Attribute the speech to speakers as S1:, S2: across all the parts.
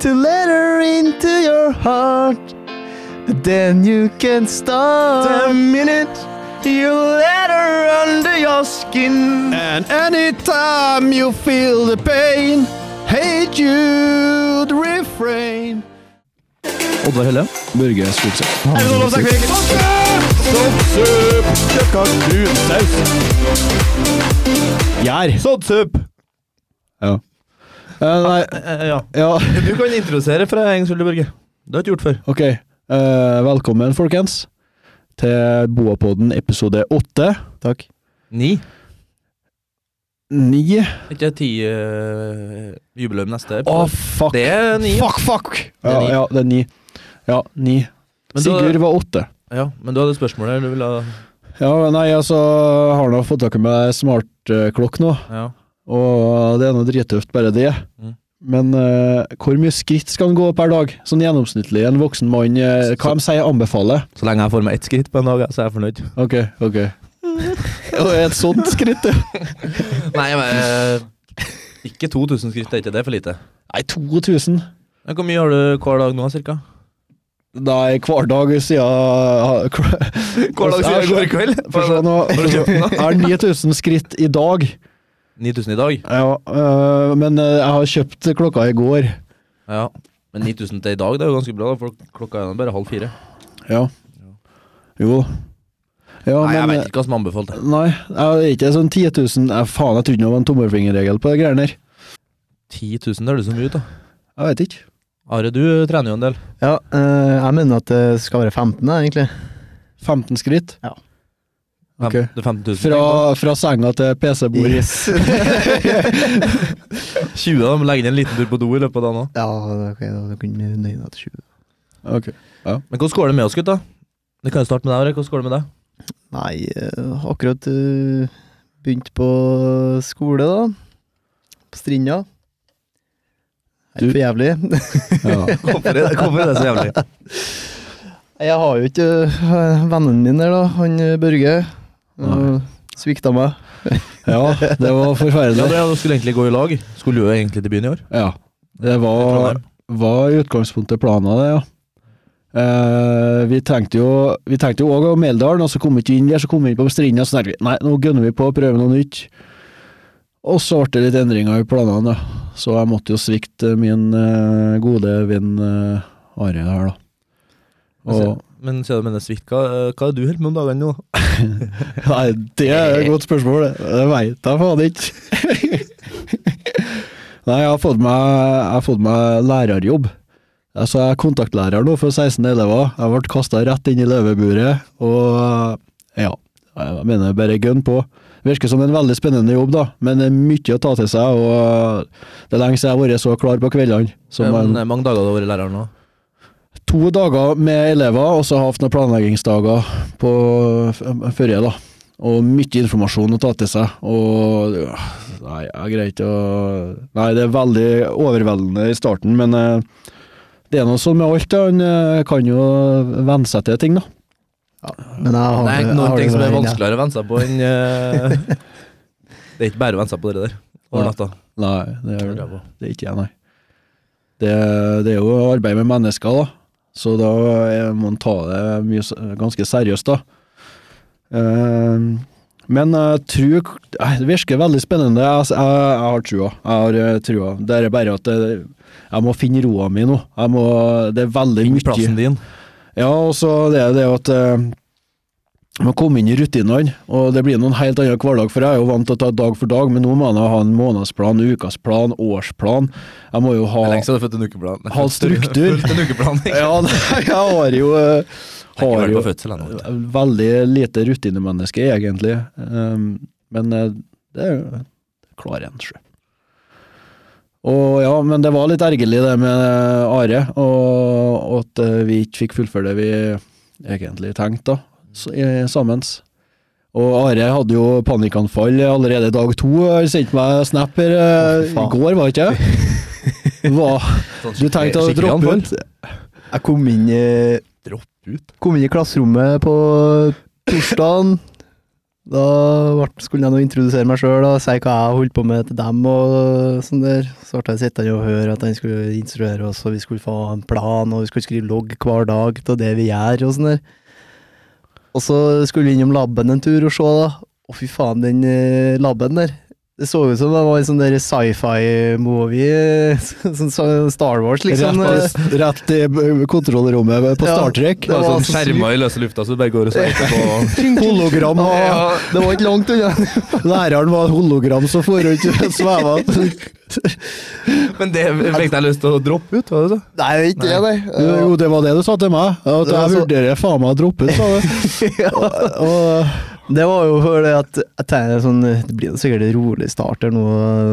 S1: to let her into your heart. Then you can start.
S2: The minute
S1: You let her under your skin.
S2: and anytime you feel the pain, hey Jude, refrain.
S1: Oddvar Helle.
S2: Børge Skogseth.
S1: Gjær.
S2: Ja. Eh, nei,
S1: Ja.
S2: ja,
S1: Du kan introdusere fra Engsund, Børge. Det har du ikke gjort før.
S2: ok. Eh, velkommen, folkens, til Boapodden episode åtte.
S1: Takk. Ni.
S2: Ni.
S1: Er ikke det ti eh, jubileum neste?
S2: Å, fuck.
S1: det er ni.
S2: Fuck, fuck!
S1: Det er
S2: Ja,
S1: ni.
S2: ja, det er ni. Ja, ni.
S1: Men da-
S2: Sigurd var åtte.
S1: Ja, men du hadde et spørsmål her. Du ville ha
S2: Ja, nei, altså, jeg har nå fått tak i meg smartklokk nå,
S1: ja.
S2: og det er nå drittøft, bare det.
S1: Mm.
S2: Men eh, hvor mye skritt skal han gå per dag? Sånn gjennomsnittlig en voksen mann, eh, hva de sier anbefaler?
S1: Så lenge jeg får meg ett skritt på en dag, så er jeg fornøyd.
S2: Ok, ok. Og Et sånt skritt, ja.
S1: Nei, men eh, Ikke 2000 skritt, det er ikke det for lite.
S2: Nei, 2000.
S1: Men Hvor mye har du hver dag nå, cirka?
S2: Nei, hver dag siden Hver dag siden i går
S1: kveld?
S2: For sånn nå Jeg har 9000 skritt i dag.
S1: 9000 i dag?
S2: Ja, øh, men øh, jeg har kjøpt klokka i går.
S1: Ja. Men 9000 til i dag, det er jo ganske bra, da, for klokka er jo bare halv fire.
S2: Ja. Jo. Ja,
S1: Nei, jeg
S2: men eh,
S1: vet ikke hva som er anbefalt.
S2: Nei, jeg er ikke sånn 10 000 jeg, Faen, jeg trodde det var en tommelfingerregel på de greiene der.
S1: 10 000 høres så mye ut, da.
S2: Jeg vet ikke.
S1: Are, du trener jo en del.
S3: Ja, eh, jeg mener at det skal være 15, da, egentlig.
S2: 15 skritt
S1: Fem,
S2: Ok.
S1: Det er 15 000.
S2: fra, fra senga til PC-bordet.
S1: tenker jeg. 20 av dem legger inn en liten tur på do i løpet av dagen òg.
S3: ja, ok, da da kunne vi nøye meg til 20.
S2: Ok.
S1: Men hvordan går det med oss, gutta? Det kan jo starte med deg, Are. Hvordan går det med deg?
S3: Nei, eh, akkurat eh, begynt på skole, da. På Strinda.
S2: Du-
S3: Helt for jævlig.
S2: Ja.
S1: Hvorfor er det, hvorfor er det så jævlig?
S3: Jeg har jo ikke eh, vennen min der, da. Han eh, Børge.
S2: Nei.
S3: eh, Svikta meg.
S2: ja, det var
S1: Ja,
S2: forferdelig.
S1: dere skulle egentlig gå i lag. Skulle jo egentlig til byen i år.
S2: Ja. Det
S1: i
S2: var
S1: Trondheim.
S2: var i utgangspunktet planen det, ja. Eh, vi tenkte jo Vi tenkte jo også om Meldalen, og så kom vi ikke inn der, så kom vi inn på Strinda, så tenkte vi nei, nå gønner vi på å prøve noe nytt. Og så ble det litt endringer i planene, da. Så jeg måtte jo svikte min eh, gode venn eh, Are her, da. Og,
S1: Men sier du mener svikt, hva, eh, hva er det du holder på med om dagene nå?
S2: nei, det er et godt spørsmål, det. Det veit jeg faen ikke. nei, jeg har fått meg, jeg har fått meg lærerjobb. Altså, jeg er kontaktlærer nå for 16 elever. Jeg ble kasta rett inn i løveburet, og ja, jeg mener bare gønn på. Virker som en veldig spennende jobb, da, men det er mye å ta til seg, og det er lenge siden jeg har vært så klar på kveldene.
S1: Eh, Det
S2: Som
S1: er
S2: en,
S1: mange- mange dager du har vært lærer nå.
S2: to dager med elever, og så har jeg hatt noen planleggingsdager på f- forrige, da. Og mye informasjon å ta til seg, og ja, Nei, jeg greier ikke å Nei, det er veldig overveldende i starten, men eh, det er nå sånn med alt, da. En eh, kan jo venne seg til ting, da.
S3: Men jeg har
S1: Det er
S3: jeg
S1: noen
S3: har
S1: ting
S3: det
S1: som er
S3: bra, jeg.
S1: vanskeligere å venne seg på enn eh, Det er ikke bare å venne seg på det der. Over
S2: Ja.
S1: natta.
S2: Nei, det er,
S1: Ræva.
S2: det er ikke jeg, nei. Det, det er jo arbeid med mennesker, da. Så da er- må man ta det mye, s- ganske seriøst, da. Eh, men jeg tror eh, Det virker veldig spennende. Jeg, jeg, jeg har trua. Jeg har eh, trua. Det er bare at det, jeg må finne roa mi nå. Jeg må, det er veldig
S1: Finn
S2: mye
S1: plassen din.
S2: ja, og så det er det at eh, man kommer inn i rutinene, og det blir noen helt annen hverdag, for jeg er jo vant til å ta dag for dag, men nå må jeg ha en månedsplan, ukasplan, årsplan. Jeg må jo ha
S1: Det er lenge siden du har født en ukeplan.
S2: Ha struktur.
S1: Født en ukeplan. ikke?
S2: Ja, nei, jeg har jo, eh,
S1: Jeg har
S2: har
S1: ikke vært
S2: jo
S1: på fødsel ennå. vet du.
S2: veldig lite rutinemenneske, egentlig. Um, men eh, det er jo klarer en, sjø. Og ja, men det var litt ergerlig det med Are, og, og at eh, vi ikke fikk fullføre det vi egentlig tenkte, da, s- i- sammen. Og Are hadde jo panikkanfall allerede dag to, har sendt meg snap her eh,
S3: Å, fy
S2: i
S3: faen.
S2: går, var det ikke? Hva?
S1: Sånn
S2: Du tenkte å
S1: skikkelig
S2: droppe
S1: anfall.
S2: ut?
S3: Jeg kom inn i
S1: Dropp ut?
S3: Kom inn i klasserommet på torsdagen. Da vart- skulle jeg nå introdusere meg sjøl og si hva jeg holdt på med til dem. og sånn der. Så ble jeg sittende og høre at han skulle instruere oss, og vi skulle få en plan, og vi skulle skrive logg hver dag av det vi gjør. Og sånn der. Og så skulle vi innom laben en tur og se, da. Å, fy faen, den eh, laben der. Det så ut som det var en sånn der sci-fi-movie. Sånn sånn Star Wars, liksom.
S2: rett, rett i b- kontrollrommet på
S3: Ja,
S2: Star Trek.
S3: det var
S2: Altså,
S3: så
S1: sånn Skjermer i løse lufta, så du bare går og sveiper på.
S2: Hologram. og-
S1: Ja.
S3: Det var ikke langt unna.
S2: Læreren var et hologram som for rundt og sveva.
S1: Men det fikk jeg lyst til å droppe ut, var det så?
S3: Nei, det er ikke det, nei.
S2: Jo, det var det du sa til meg. At
S3: Det var
S2: jeg
S3: så-
S2: vurderer faen meg å droppe ut, sa du. Og- og-
S3: Det var jo fordi at jeg tenker sånn, Det blir jo sikkert en rolig start her nå.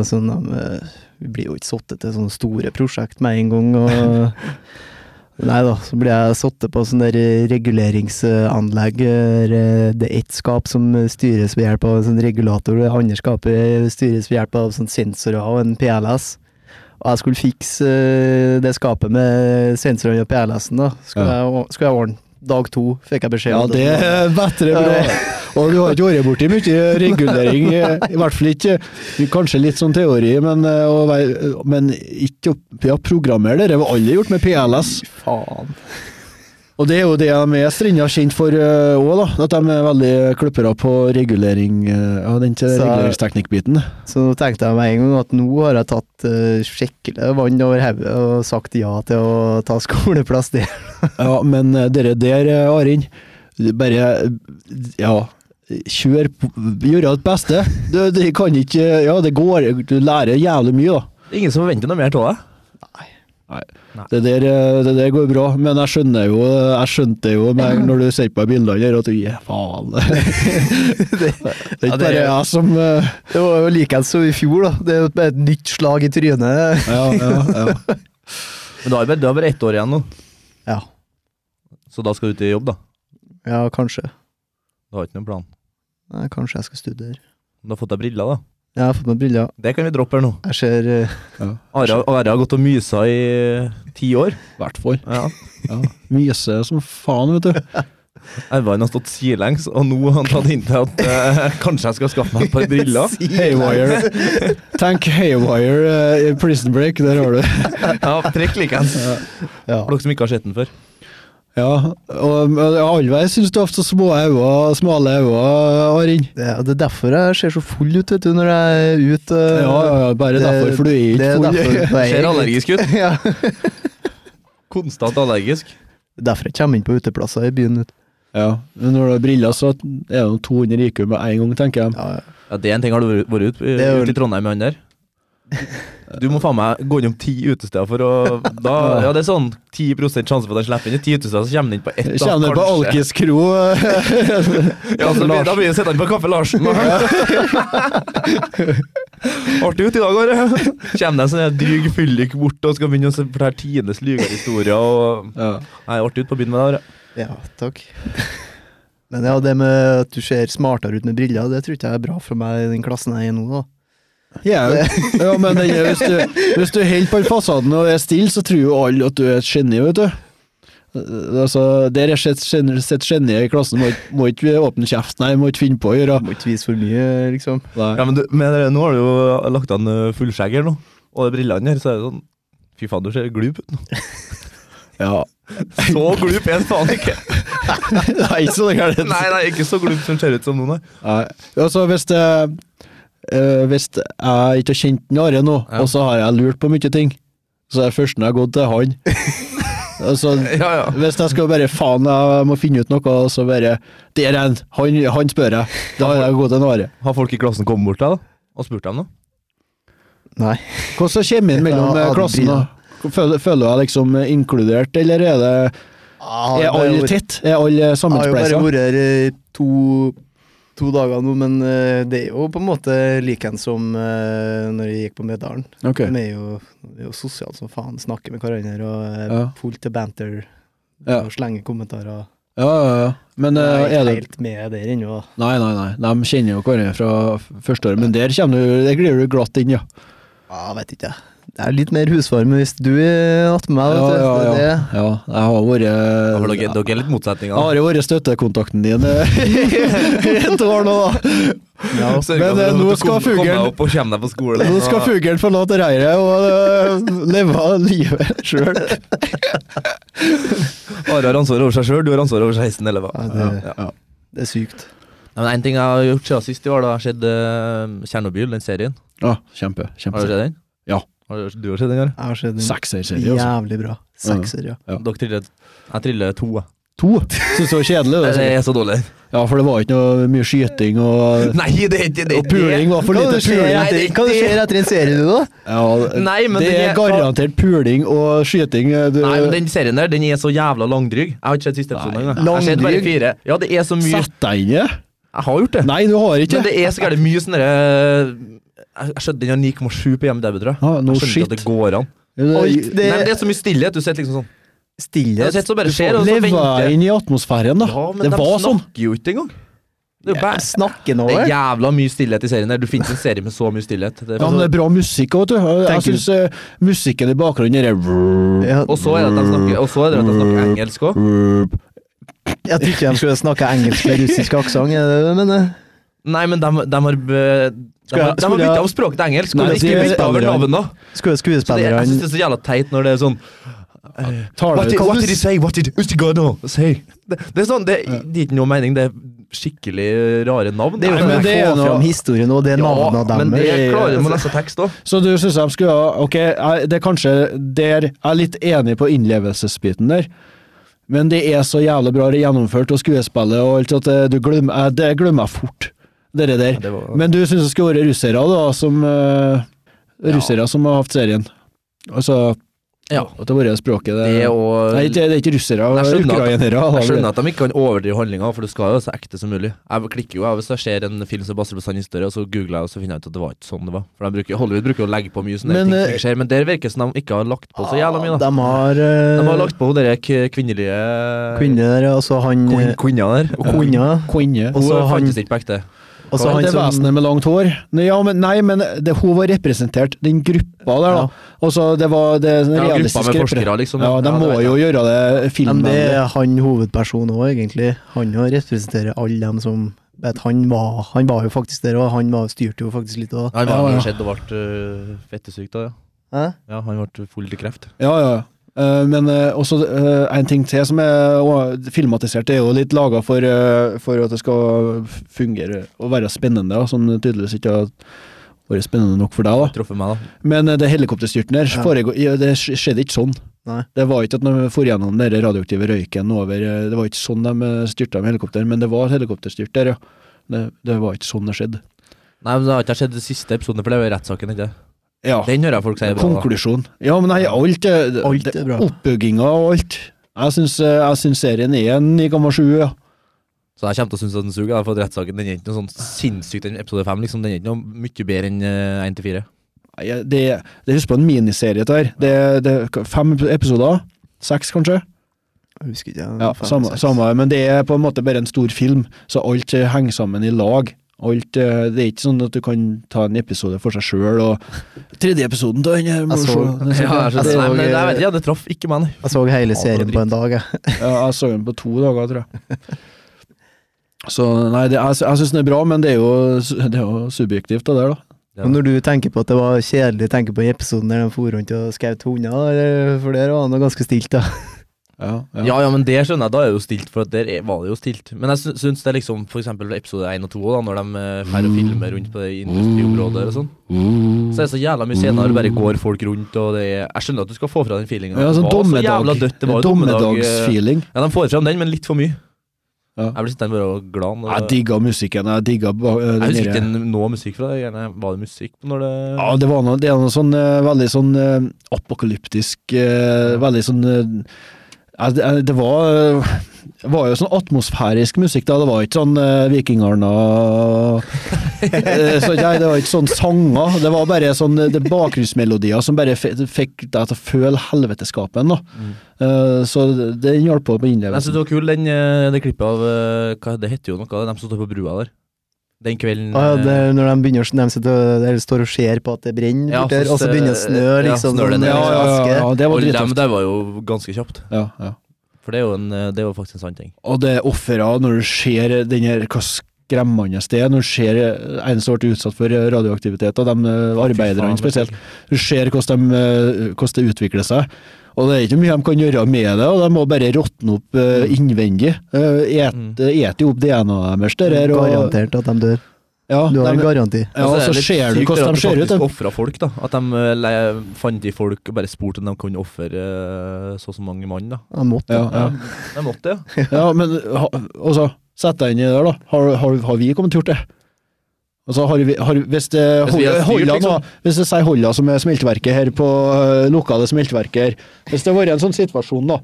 S3: Sånn, eh, vi blir jo ikke satt til sånne store prosjekt med en gang. Og, nei da, så blir jeg satt på sånn der reguleringsanlegg. der, eh, Det er ett skap som styres ved hjelp av en sånn regulator, det andre skapet styres ved hjelp av sånn sensorer og en PLS. Og jeg skulle fikse eh, det skapet med sensorene og PLS-en, da. Skulle, jeg, skulle jeg ordne. Dag to fikk jeg beskjed
S2: Ja,
S3: om.
S2: det er bedre bra. Og du har ikke vært borti mye regulering, i hvert fall ikke Kanskje litt sånn teori, men, eh, å være- men ikke å ja, programmere det. Det har alle gjort med PLS.
S3: Faen.
S2: Og det er jo det de er stringa kjent for òg, da. At de er veldig klippere på regulering eh, av den til
S3: Så-
S2: reguleringsteknikkbiten.
S3: Så nå tenkte jeg med en gang at nå har jeg tatt eh, skikkelig vann over hodet og sagt ja til å ta skoleplass der.
S2: Ja, men eh, dere der, eh, Arild, bare eh, Ja. Kjør på- Gjør ditt beste. Du, det kan ikke eh, Ja, det går. Du lærer jævlig mye, da.
S1: Ingen som forventer noe mer av deg?
S2: Det der, eh, det der går bra, men jeg skjønner jo Jeg skjønte jo med, når du ser på bildene der at du gir faen. Det er
S3: Ja,
S2: ikke
S3: det er-
S2: bare jeg som eh,
S3: Det var jo likeens som i fjor, da. Det er jo bare et nytt slag i trynet.
S2: Ja, ja, ja.
S1: Men du har bare, du har bare ett år igjen nå,
S3: Ja,
S1: så da skal du ut i jobb, da.
S3: ja kanskje.
S1: Du har ikke noen plan.
S3: Nei, kanskje jeg skal studere.
S1: Du har fått deg briller, da.
S3: Jeg har fått meg briller.
S1: Det kan vi droppe her nå.
S3: Jeg ser eh,
S1: Are, Are har gått og mysa i eh, ti år.
S2: I hvert fall.
S1: Ja.
S2: Ja. Myse som faen, vet du.
S1: Ervan har stått sidelengs, og nå har han tatt inn til at eh, kanskje jeg skal skaffe meg et par briller.
S2: Haywire. Tenk Haywire eh, i Prison Break, der har du det.
S1: Ja, Trekk likeens.
S3: Ja.
S1: For dere som ikke har sett den før.
S2: Ja, og men allvei syns du ofte små øyne, smale øyne, Arild.
S3: Det er, det er derfor jeg ser så full ut, vet du, når jeg er ute.
S2: Ja, ja, ja, bare derfor, for du er
S3: Det
S2: ikke
S3: er
S2: full.
S3: derfor, Nei,
S1: Ser allergisk ut.
S3: ja.
S1: Konstant allergisk.
S3: derfor jeg kommer inn på uteplasser i byen. vet du.
S2: Ja, men når du har briller, så er det noen 200 IQ med en gang, tenker jeg.
S3: Ja, ja.
S1: Ja, Det er en ting har du vært- vært ute
S3: er jo-
S1: ut i Trondheim med han der. Du må faen meg gå innom ti utesteder for å da, Ja, det er sånn 10 sjanse for at han slipper inn i ti utesteder, så kommer han inn på ett. da,
S2: Kjenner på
S1: kanskje.
S2: Alkis kro. eh?
S1: Ja, så blir, da blir det sitter han på Kaffe Larsen. da. Artig ut i dag, Are. Kommer det en sånn her dryg fyllik bort og skal begynne å fortelle tidenes lygehistorier og
S2: Ja.
S1: Nei, artig ut på byen med deg, Are.
S3: Ja, takk. Men ja, det med at du ser smartere ut med briller, det tror ikke jeg er bra for meg i den klassen jeg er i nå, da.
S2: Ja, ja, men den, er- hvis du, hvis du holder på fasaden og er stille, så tror jo alle at du er et geni, vet du. Eh, Altså, der er sett geni sett geni i klassen, må, ikke- må ikke åpne kjeft, nei, må ikke finne på å gjøre.
S3: Må ikke vise for mye, liksom.
S2: Nei.
S1: Ja, men, du, men eh, nå har du jo lagt an eh, fullskjegg her nå, og de brillene her, så er det sånn Fy faen, du ser glup ut nå.
S2: Ja.
S1: Så glup er han faen ikke.
S2: Nei, så det er det.
S1: Nei, nei, ikke så glup som ser ut som nå, nei.
S2: Nei. Altså, hvis det eh, Hvis jeg ikke har kjent den Are nå,
S1: Ja.
S2: og så har jeg lurt på mye ting, så er det første når jeg har gått til han. altså,
S1: Ja, ja.
S2: hvis jeg skal bare faen, jeg må finne ut noe, og så bare Der er han! Han, han spør jeg. Da har jeg gått til en Are.
S1: Har folk i klassen kommet bort til deg da, og spurt deg om noe?
S3: Nei.
S2: Hvordan kommer inn mellom
S3: Ja,
S2: eh,
S3: ja, det
S2: klassen?
S3: blir det.
S2: da? Føler, føler jeg liksom eh, inkludert, eller er det Er alle tett? Er alle
S3: Jeg har jo bare
S2: sammenspleisa?
S3: vært her i to, to dager nå, men eh, det er jo på en måte likeens som eh, når jeg gikk på Medalen.
S2: Ok.
S3: De er jo, de er jo sosiale som faen, snakker med hverandre og er
S2: Ja.
S3: fullt til banter.
S2: Ja.
S3: Og slenger kommentarer.
S2: Ja, ja, ja. Men eh,
S3: jeg
S2: er
S3: er
S2: det
S3: ikke helt med der ennå. da.
S2: Nei, nei, nei. De kjenner jo hverandre fra f- første året, men der, kommer du, der glir du glatt inn, ja.
S3: Ja, Jeg vet ikke, jeg. Jeg er litt mer husvarm hvis du er attmed meg.
S2: Ja,
S3: vet du.
S2: ja,
S3: Det-
S2: ja.
S3: det-
S2: ja jeg har vært eh,
S1: Ja, for Dere, dere er litt
S2: Jeg
S1: motsetninger.
S2: har jo vært støttekontakten din eh, i et år nå, da.
S1: Ja, Sørger
S2: men,
S1: for
S2: eh,
S1: at
S2: nå
S1: du
S2: skal
S1: kom- kom
S2: fuglen-
S1: deg opp og kommer deg på skolen.
S2: Nå skal fuglen forlate reiret og eh, leve livet sjøl.
S1: Are har ansvaret over seg sjøl, du har ansvaret over 16 elever.
S3: Ja, det-
S1: Ja.
S3: Det er sykt.
S1: Nei, men En ting jeg har gjort siden sist i år, da har skjedd uh, Tjernobyl, den serien.
S2: Ja, kjempe.
S1: Har du
S2: kjempe.
S1: sett den?
S2: Ja.
S1: Har du, du har sett den, Are?
S3: Jeg har sett den.
S2: Sekserserie, altså.
S3: Jævlig bra. Sekser, ja.
S2: Ja.
S1: Dere triller Jeg triller to. jeg.
S2: To? Syns det var kjedelig?
S1: Nei,
S2: Det,
S1: Det
S2: sikkert.
S1: er så dårlig.
S2: ja, for det var ikke noe mye skyting og
S1: Nei, det er ikke det! er
S2: Og
S1: ikke
S2: puling var for
S3: Hva
S2: lite
S3: skjer
S2: puling.
S1: Nei,
S3: etter,
S1: det-
S3: hva skjer etter en serie nå, da?
S2: Ja,
S1: Nei, men
S2: det
S1: den
S2: er
S1: er-
S2: garantert puling og skyting. eh, Du,
S1: Nei, men den serien der, den er så jævla langdryg. Jeg har ikke sett siste episode
S2: Nei,
S1: engang. Jeg har sett bare
S3: langdryg?
S1: fire. Ja, det er så mye
S2: Sett deg inn i det!
S1: Jeg har gjort det.
S2: Nei, du har ikke
S1: Men det er så gærent mye sånn derre Jeg jeg skjønte den har 9,7 på hjemmedebut, tror jeg.
S2: Ja, no
S1: Jeg skjønner ikke at
S2: shit.
S1: det går an.
S3: Alt
S2: Lever
S3: det
S1: Nei, men det er så mye stillhet. Du sitter liksom sånn. Du
S3: stillhet
S1: sitter så bare skjer, og så
S2: jeg
S1: venter
S2: inn i atmosfæren, da.
S1: Ja, men
S2: det
S1: de
S2: var sånn.
S1: snakker jo ikke engang. Det er jo bare
S3: Snakken
S1: det er
S3: over?
S1: jævla mye stillhet i serien der. Du finner ikke en serie med så mye stillhet. Det er
S2: Ja, men det
S1: sånn-
S2: er bra musikk òg, vet du. Jeg
S3: Tenker-
S2: syns eh, musikken i bakgrunnen er
S3: Ja,
S1: og så er det at de snakker, og så er det at de snakker engelsk òg.
S3: jeg tror ikke de skulle snakke engelsk med russisk aksent, er det eh, det du mener?
S1: Nei, men de, de har be- De
S2: Skulle
S1: har,
S2: jeg-
S1: de har
S2: skulle
S1: bytta
S2: jeg-
S1: om språket til engelsk.
S2: Skulle
S1: og
S2: jeg
S1: de
S2: si-
S1: bytter over navn da. Så det,
S3: Skulle
S1: jeg synes
S3: skuespillerne
S1: det er så jævla teit når det er sånn
S2: Tar
S1: What
S2: deg
S1: did,
S2: ut
S1: what did he say? What did Ustigano say? Det, det er sånn, det, det gir ikke noe mening. Det er skikkelig eh, rare navn.
S3: Det er jo sånn
S2: Nei, men
S3: for å
S2: det er
S3: få
S2: noe-
S3: fram historien og det navnet
S1: ja, men
S3: deres.
S1: det
S2: er-
S1: klarer man nesten tekst òg.
S2: Så du syns de skulle ha Ok, jeg, det er kanskje der Jeg er litt enig på innlevelsesbiten der. Men det er så jævlig bra gjennomført, og skuespillet og alt, at eh, du glemmer, jeg- det glemmer jeg fort. Dere der.
S1: det var-
S2: Men du syns det skulle være russere, da, som eh, Russere som har hatt serien. Altså
S1: Ja.
S2: At det har vært språket det,
S1: Det
S3: eh,
S1: og-
S2: Nei, ikke- det er ikke russere,
S1: Jeg
S2: det er
S1: skjønner at-
S2: ukrainere. da,
S1: Jeg
S2: vel.
S1: skjønner at de ikke kan overdrive handlinga, for det skal jo være så ekte som mulig. Jeg klikker jo av hvis jeg ser en film som er basert på sann historie, og så googler jeg og så finner jeg ut at det var ikke sånn det var. For de bruker, Hollywood bruker jo å legge på mye sånne
S3: Men,
S1: ting
S3: eh,
S1: som ikke skjer, men der virker det som de ikke har lagt på så jævla mye. da
S3: De har, eh,
S1: De har lagt på de kvinnelige
S3: kvinner der, og så han eh,
S1: Kvin- kvinner der. Og kvinner.
S3: Kona.
S2: Kvinne.
S3: Og så
S1: Hun
S3: han,
S1: fantes ikke på ekte.
S3: og så han
S2: det
S3: som
S2: vesenet med langt hår. Nei, ja, men, nei, men det, hun var representert, den gruppa der,
S3: Ja.
S2: da. Og så det var det er sånn
S1: Ja,
S2: realistisk
S1: gruppa med
S2: repre-
S1: forskere, liksom.
S2: Ja, de
S1: Ja, det
S2: må
S1: vet
S2: jo gjøre det
S3: Men det
S2: filmvennlig.
S3: er han hovedpersonen òg, egentlig. Han jo representerer alle dem som vet, han, var, han var jo faktisk der òg, han var, styrte jo faktisk litt òg.
S1: Han var
S2: Ja,
S1: jo
S2: ja.
S1: skjedd og ble øh, fettesyk da, ja. Ja, han ble full til kreft.
S2: Ja, ja. Eh, men eh, også eh, en ting til som er og, filmatisert, det er jo litt laga for, eh, for at det skal fungere og være spennende, da, som det tydeligvis ikke har vært spennende nok for deg. da.
S1: Truffet meg, da.
S2: Men eh, det helikopterstyrten der,
S3: Ja.
S2: foregår- ja. det sk- skjedde ikke sånn.
S3: Nei.
S2: Det var ikke at de for gjennom den der radioaktive røyken over eh, Det var ikke sånn de eh, styrta med helikopter, men det var et helikopterstyrt der, ja. Det, det var ikke sånn det skjedde.
S1: Nei, men Det har ikke skjedd de siste episodene, for det er jo rettssaken, ikke
S2: Ja.
S1: Den hører jeg folk si er bra. da.
S2: Konklusjon. Ja, men nei, alt er,
S3: Alt
S2: det-
S3: er bra.
S2: Oppbygginga og alt. Jeg syns, eh, jeg syns serien er en 9,7, ja.
S1: Så jeg kommer til å synes at den suger. da, For rettssaken den er ikke noe sånn sinnssykt den episode fem. Liksom, den er ikke noe mye bedre enn eh, én til fire.
S2: Nei, Det, det husk på en miniserie der. Det, det er fem episoder. Seks, kanskje.
S3: Jeg husker ikke. jeg,
S2: Ja,
S3: fem,
S2: samme,
S3: seks.
S2: samme, men det er på en måte bare en stor film, så alt eh, henger sammen i lag. Alt, eh, det er ikke sånn at du kan ta en episode for seg sjøl og Tredje episoden til den her må
S3: Jeg
S2: du
S3: så-
S2: se.
S1: Ja, jeg
S3: skjønner.
S1: skjønner. Nei, men det, jeg vet
S3: Og-
S1: ikke, ja, det traff ikke meg, nei.
S3: Jeg så hele serien på en dag, jeg.
S2: Ja, jeg så den på to dager, tror jeg. Så nei, det, jeg, sy- jeg syns den er bra, men det er jo, det er jo subjektivt, det der, da.
S1: Ja.
S3: Og når du tenker på at det var kjedelig, tenker på episoden der de for rundt og skjøt hunder, eller- for der var det ganske stilt, da.
S2: Ja, ja.
S1: Ja, ja, men det skjønner jeg. Da er det jo stilt, for at der er- var det jo stilt. Men jeg sy- syns det er liksom for eksempel episode én og to, da, når de eh, drar og filmer rundt på det industriområdet og sånn. Så er det så jævla mye senere, det bare går folk rundt, og det er Jeg skjønner at du skal få fra den feelingen.
S2: Ja,
S1: at
S2: sånn
S1: det var så jævla
S2: dommedag,
S1: dødt, det var jo dommedag. eh,
S2: dommedagsfeeling.
S1: Ja, de får fram den, men litt for mye.
S2: Ja.
S1: Jeg blir sittende bare og glad når
S2: Jeg digga musikken. Jeg digga ba- eh,
S1: Jeg
S2: den
S1: husker
S2: derre-
S1: ikke noe musikk fra det. Gjerne var det musikk når det
S2: Ja, det, var noe, det er noe sånn eh, veldig sånn eh, apokalyptisk eh, Veldig sånn eh, ja, det, eh, det var eh, det var jo sånn atmosfærisk musikk, da. Det var ikke sånn uh, Vikingarna Eh, så, Nei, det var ikke sånn sanger. Det var bare sånn eh, det er bakgrunnsmelodier som bare fe- fikk deg til å føle helveteskapen, da. Eh, så det- det hjalp på på
S1: Mm. Jeg synes
S2: innlevelsen.
S1: det var kul, den, eh, det klippet av eh, Hva det heter jo noe, av det, dem som står på brua der. den kvelden
S3: Ah, ja, det
S1: eh,
S3: er når de, begynner, å sn- de sitter, og- eller står og ser på at det brenner,
S1: Ja,
S3: bort der,
S1: så
S3: og så
S1: ser-
S3: begynner det å snø,
S1: ja,
S3: liksom.
S1: snør det
S3: sånn,
S1: ned,
S3: eh,
S1: ja,
S3: aske.
S2: det var
S1: Og dem
S2: drittøft.
S1: der var jo ganske kjapt.
S2: Ja, ja.
S1: For det er jo, en, eh, det er jo faktisk en sann ting.
S2: Og det er offera, når du ser den her hva skremmende det er, når du ser en som ble utsatt for radioaktivitet, og de eh, arbeiderne spesielt, du ser hvordan, de, eh, hvordan det utvikler seg. Og det er ikke mye de kan gjøre med det, og de må bare råtne opp
S3: Mm.
S2: eh, innvendig. Eh, et-
S1: Mm.
S2: Eter jo opp DNA-et deres, det der. Og,
S3: Garantert at de dør.
S2: ja,
S3: Du har en Altså,
S2: de,
S3: garanti.
S2: ja, og så
S1: Altså,
S2: ser du hvordan de ser ut.
S1: At de
S2: de.
S1: ofra folk, da. At de eh, le, fant i folk og bare spurte om de kunne ofre eh, så og så mange mann, da.
S3: Han måtte.
S2: Ja, ja.
S1: De måtte det. Ja.
S2: Ja, men ha- altså, sett deg inn i det der, da. Har, har, har vi kommet til å gjort det? Altså, har vi, har, hvis det
S1: Hvis vi har
S2: holder,
S1: styrt, liksom.
S2: Hvis det sier Holla som er smeltverket her på øh, lokale smeltverket her, hvis det var en sånn situasjon, da,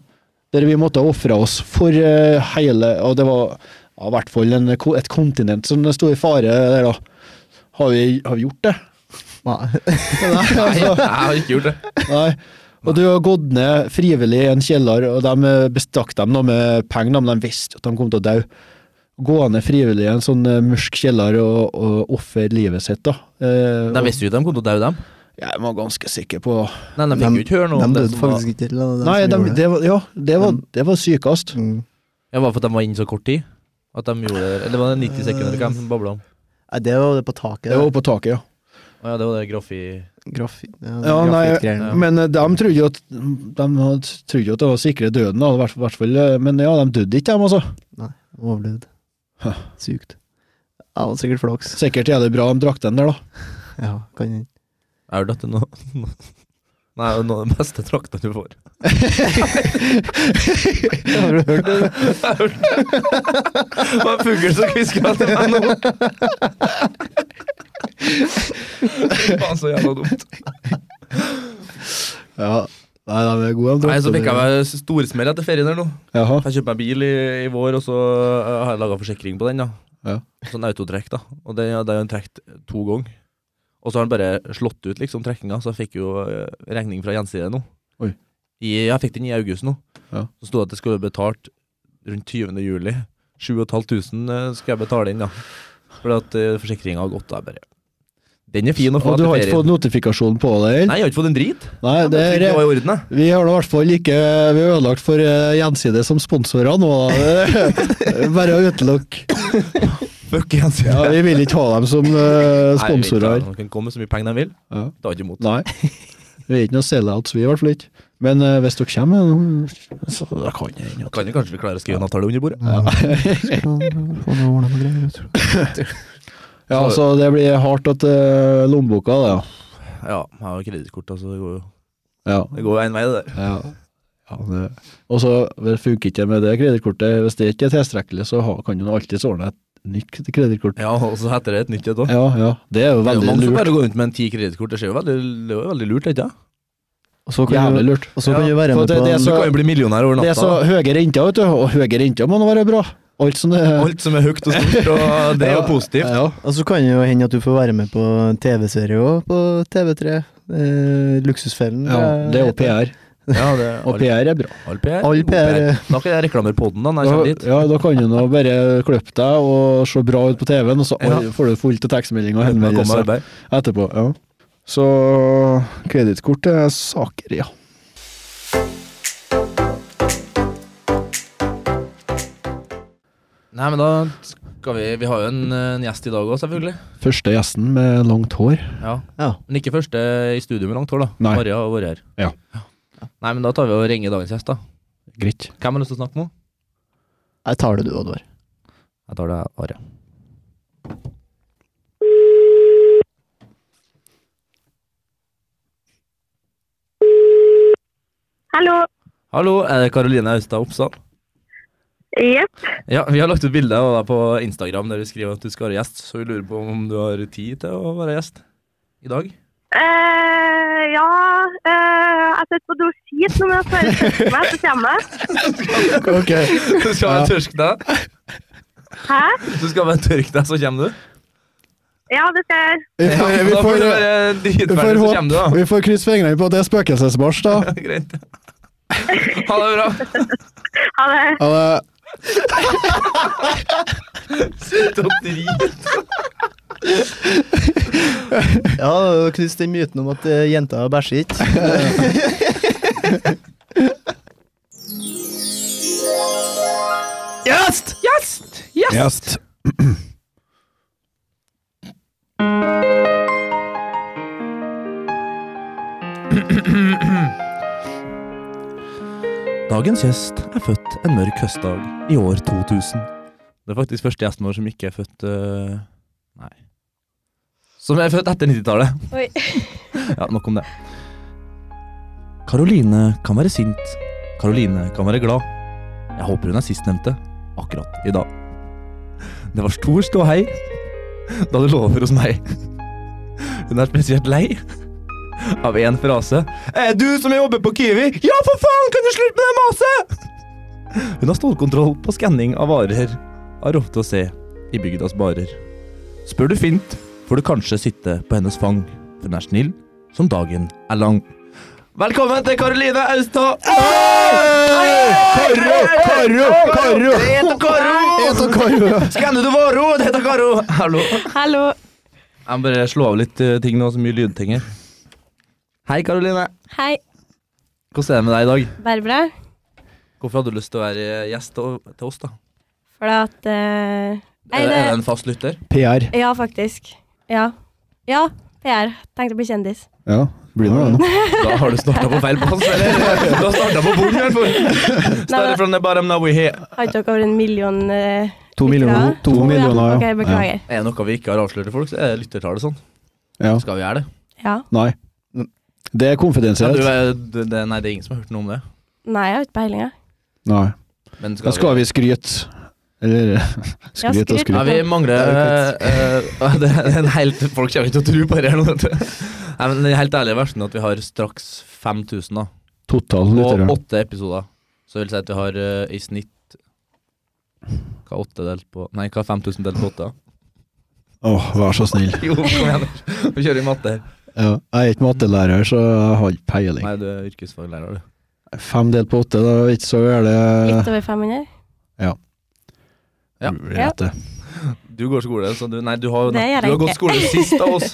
S2: der vi måtte ofre oss for øh, hele Og det var ja, i hvert fall en, ko- et kontinent som sto i fare der, da. Har vi, har vi gjort det?
S3: Nei.
S2: Nei, altså.
S1: Jeg har ikke gjort det.
S2: Nei. Og du har gått ned frivillig i en kjeller, og de eh, bestakk dem da med penger, da, men de visste at de kom til å dø. Gå ned frivillig i en sånn eh, mørk kjeller og, og ofre livet sitt, da. Eh,
S1: De visste jo ikke de kom til å daue, dem.
S2: og Jeg var ganske sikker på
S1: Nei, de fikk jo ikke høre noe
S3: De
S1: om det.
S3: døde
S1: som var-
S3: faktisk ikke. eller de
S2: Nei,
S3: som
S2: de,
S3: gjorde
S2: det var, ja, det var, det var sykest.
S3: Mm.
S1: Ja, Var det for at de var inne så kort tid? At de gjorde det Eller var det 90 sekunder eller hva de babla om?
S3: Nei, det var det på taket.
S2: Det var oppå taket, ja.
S1: Å ja, det var det Graffi
S3: Graf... Ja,
S2: Ja, nei,
S3: grafittgreiene.
S1: Ja.
S2: Men eh, de trodde jo at, de hadde- trodde jo at det var sikre døden, da, i hvert- hvert fall. eh, Men ja, de døde ikke, dem, altså.
S3: Overlevd.
S2: Hæ.
S3: Sykt. Ja, det var sikkert flaks.
S2: Sikkert er det bra de drakk den der, da.
S3: Ja, kan hende.
S1: Er det at det nå Nei, det er noe av den beste trakta du får.
S3: Har du hørt det?
S1: Det var en fugl som hviska til meg nå. Fy Faen, så jævla dumt.
S2: Ja. Nei, de er gode, de
S1: Nei, så
S2: drakk
S1: fikk jeg
S2: den.
S1: meg storsmell etter ferien her nå.
S2: Jaha.
S1: Jeg kjøpte meg bil i, i vår, og så eh, har jeg laga forsikring på den. da
S2: Ja.
S1: Sånn autotrekk, da. Og det, det er jo en trekt to ganger. Og så har han bare slått ut liksom trekninga, så jeg fikk jo eh, regning fra gjenside nå.
S2: Oi.
S1: I, jeg fikk den i august nå.
S2: Ja.
S1: Så sto det at det skulle betalt rundt 20. juli. 7500 eh, skal jeg betale inn, da. Fordi at uh, forsikringa har gått. da, Jeg bare Den er fin å få
S2: Og du
S1: etter
S2: har ikke
S1: ferien.
S2: fått notifikasjon på det? eller?
S1: Nei, jeg har ikke fått en drit.
S2: Nei,
S1: Jeg
S2: det
S1: trodde
S2: er,
S1: det var i orden, jeg.
S2: vi har da i hvert fall ikke Vi er ødelagt for eh, gjenside som sponsorer nå. da. Bare å utelukke.
S1: Fuck gjenside.
S2: Ja, vi vil ikke ha dem som eh,
S1: Nei, vi vet ikke,
S2: sponsorer.
S1: De kan komme med så mye penger de vil.
S2: Ja.
S1: Det er ikke imot.
S2: Nei. Vi er ikke noe sellouts, vi i hvert fall ikke. Men eh, hvis dere kommer, eh, så da kan jeg hende at
S1: Kan jo kanskje vi klarer å skrive en avtale under bordet.
S2: Mm.
S3: Få noe ordnet med greier, vet du.
S2: Ja, altså, det blir hardt at eh, lommeboka, det.
S1: Ja, jeg har jo kredittkort, altså. Det går jo
S2: Ja. ja.
S1: det går jo en vei, det der.
S2: Ja. ja det. Og så det funker ikke med det kredittkortet. Hvis det ikke er tilstrekkelig, så ha- kan du nå alltids ordne et nytt kredittkort.
S1: Ja, og så heter det et nytt et òg.
S2: Ja, ja. Det er jo
S1: Det er jo
S2: veldig
S1: mange som
S2: lurt.
S1: bare går rundt med en ti kredittkort. Det ser jo veldig, det er jo veldig lurt, ikke sant?
S3: Og så kan
S2: Jævlig
S3: du,
S2: lurt.
S3: og så
S1: Ja,
S3: kan du være
S2: for
S3: med
S2: det-
S3: på
S2: det er
S1: Du
S3: en
S2: så-
S1: kan jo bli millionær
S2: Det
S1: over
S2: er
S1: natta.
S2: så
S1: da.
S2: høye renter, vet du. Og høye renter må nå være bra. Alt som det er.
S1: Alt som er høyt og stort, og det er jo positivt.
S2: Ja.
S3: Og så kan det jo hende at du får være med på en TV-serie òg, på TV3. Eh, Luksusfellen.
S2: Ja, det er jo PR,
S1: Ja, det er
S2: og
S1: all,
S2: PR er bra.
S1: all PR.
S3: All
S1: god
S3: PR.
S1: Da kan jeg reklamere podden da når jeg
S2: Da,
S1: kommer dit.
S2: ja, da kan du nå bare klippe deg og se bra ut på TV-en, og så
S1: Ja.
S2: oi, får du fullt av tekstmeldinger og
S1: Da kommer jeg
S2: henvendelser
S1: arbeid.
S2: etterpå. Ja. Så kredittkort er saker, ja.
S1: Nei, men da skal vi Vi har jo en, en gjest i dag òg, selvfølgelig.
S2: Første gjesten med langt hår.
S1: Ja.
S3: Ja.
S1: Men ikke første i studio med langt hår, da.
S2: Nei.
S1: Maria har vært her.
S2: Ja.
S1: Nei, men da tar vi og ringer dagens gjest, da.
S2: Greit.
S1: Hvem har lyst til å snakke med henne?
S3: Jeg tar det du, Oddvar.
S1: Jeg tar det Are.
S4: Hallo.
S1: Hallo, er det Karoline Austad Oppsal?
S4: Jepp.
S1: Ja, vi har lagt ut bilde av deg på Instagram der du skriver at du skal være gjest, så vi lurer på om du har tid til å være gjest i dag?
S4: Eh, ja eh, Jeg sitter på do skit nå, men jeg skal bare tørke meg, så kommer jeg.
S2: Ok.
S1: Du skal bare tørke deg,
S4: Hæ?
S1: du skal bare tørke deg, så kommer du?
S4: Ja, det skal jeg.
S2: Vi får,
S1: Ja,
S2: vi
S1: da
S2: får,
S1: får du være
S2: vi
S1: dritferdig,
S2: får,
S1: så kommer du,
S2: håpe,
S1: da.
S2: vi får krysse fingrene på at det er spøkelsesmarsj, da.
S1: Greit. Ha det bra.
S4: Ha det.
S2: Ja, det-
S1: Slutt å drite.
S3: Ja, knust den myten om at eh, jenter bæsjer ikke. Gjest!
S2: Gjest.
S1: Dagens gjest er født en mørk høstdag i år 2000. Det er faktisk første gjesten vår som ikke er født øh, Nei. Som er født etter 90-tallet.
S5: Oi.
S1: Ja, nok om det. Karoline kan være sint. Karoline kan være glad. Jeg håper hun er sistnevnte akkurat i dag. Det var stor ståhei da du lå over hos meg. Hun er spesielt lei av én frase. Er du som jobber på Kiwi? Ja, for faen! Kan du slutte med det maset?! Hun har stålkontroll på skanning av varer. Har ofte å se i bygdas barer. Spør du fint, får du kanskje sitte på hennes fang. For hun er snill som dagen er lang. Velkommen til Karoline Austad! Karo! Karo! Karo! Det heter Karo! Skanner du varo? Det heter Karo! Hallo.
S5: Hallo.
S1: Jeg må bare slå av litt eh, ting nå, så mye lydting her. Hei, Karoline.
S5: Hei.
S1: Hvordan er det med deg i dag?
S5: Bare bra.
S1: Hvorfor hadde du lyst til å være eh, gjest til til oss, da?
S5: Fordi at eh, Nei,
S1: Er
S5: det-
S1: er det en fast lytter?
S2: PR.
S5: Ja, faktisk. Ja. Ja, PR. Tenkte å bli kjendis.
S2: Ja, blir det noe.
S1: Da har du starta på feil plass, eller? Du har starta på bunnen, i hvert fall. Starter fra the bottom, now we here.
S5: Har ikke dere over en million eh,
S2: To
S5: millioner-
S2: To
S5: ja,
S2: millioner,
S5: Ok, beklager.
S1: Er det noe vi ikke har avslørt til folk, så er det lyttertallet sånn.
S2: Ja.
S1: Skal vi gjøre det?
S5: Ja.
S2: Nei. Det er
S1: Ja, du,
S2: konfidensielt.
S1: er- du, det? Nei, det er ingen som har hørt noe om det.
S5: Nei, jeg har ikke peiling, jeg.
S2: Nei.
S1: Men skal,
S2: Da skal vi skryte. Eller eh, skryte og
S5: skryt.
S1: Nei,
S2: skryte.
S1: vi mangler eh, eh, det er en helt, Folk kommer ikke til å tro på det her nå, vet du. Nei, men den helt ærlige versjonen er at vi har straks 5000, da.
S2: Total
S1: Og
S2: lyttere.
S1: åtte episoder. Så det vil si at vi har eh, i snitt Hva er åtte delt på Nei, hva er 5000 delt på åtte?
S2: Åh, vær så snill.
S1: Jo, kom igjen. Vi kjører i matte her.
S2: Ja. Jeg er ikke mattelærer, så jeg har ikke peiling.
S1: Nei, du er yrkesfaglærer, du.
S2: Fem delt på åtte, da er ikke så gærent.
S5: Litt over 500.
S1: Ja.
S2: Blir rett, det.
S1: Du går skole, så du Nei, du har,
S5: Det
S1: nei,
S5: gjør
S1: du
S5: jeg
S1: har gått skole sist av oss.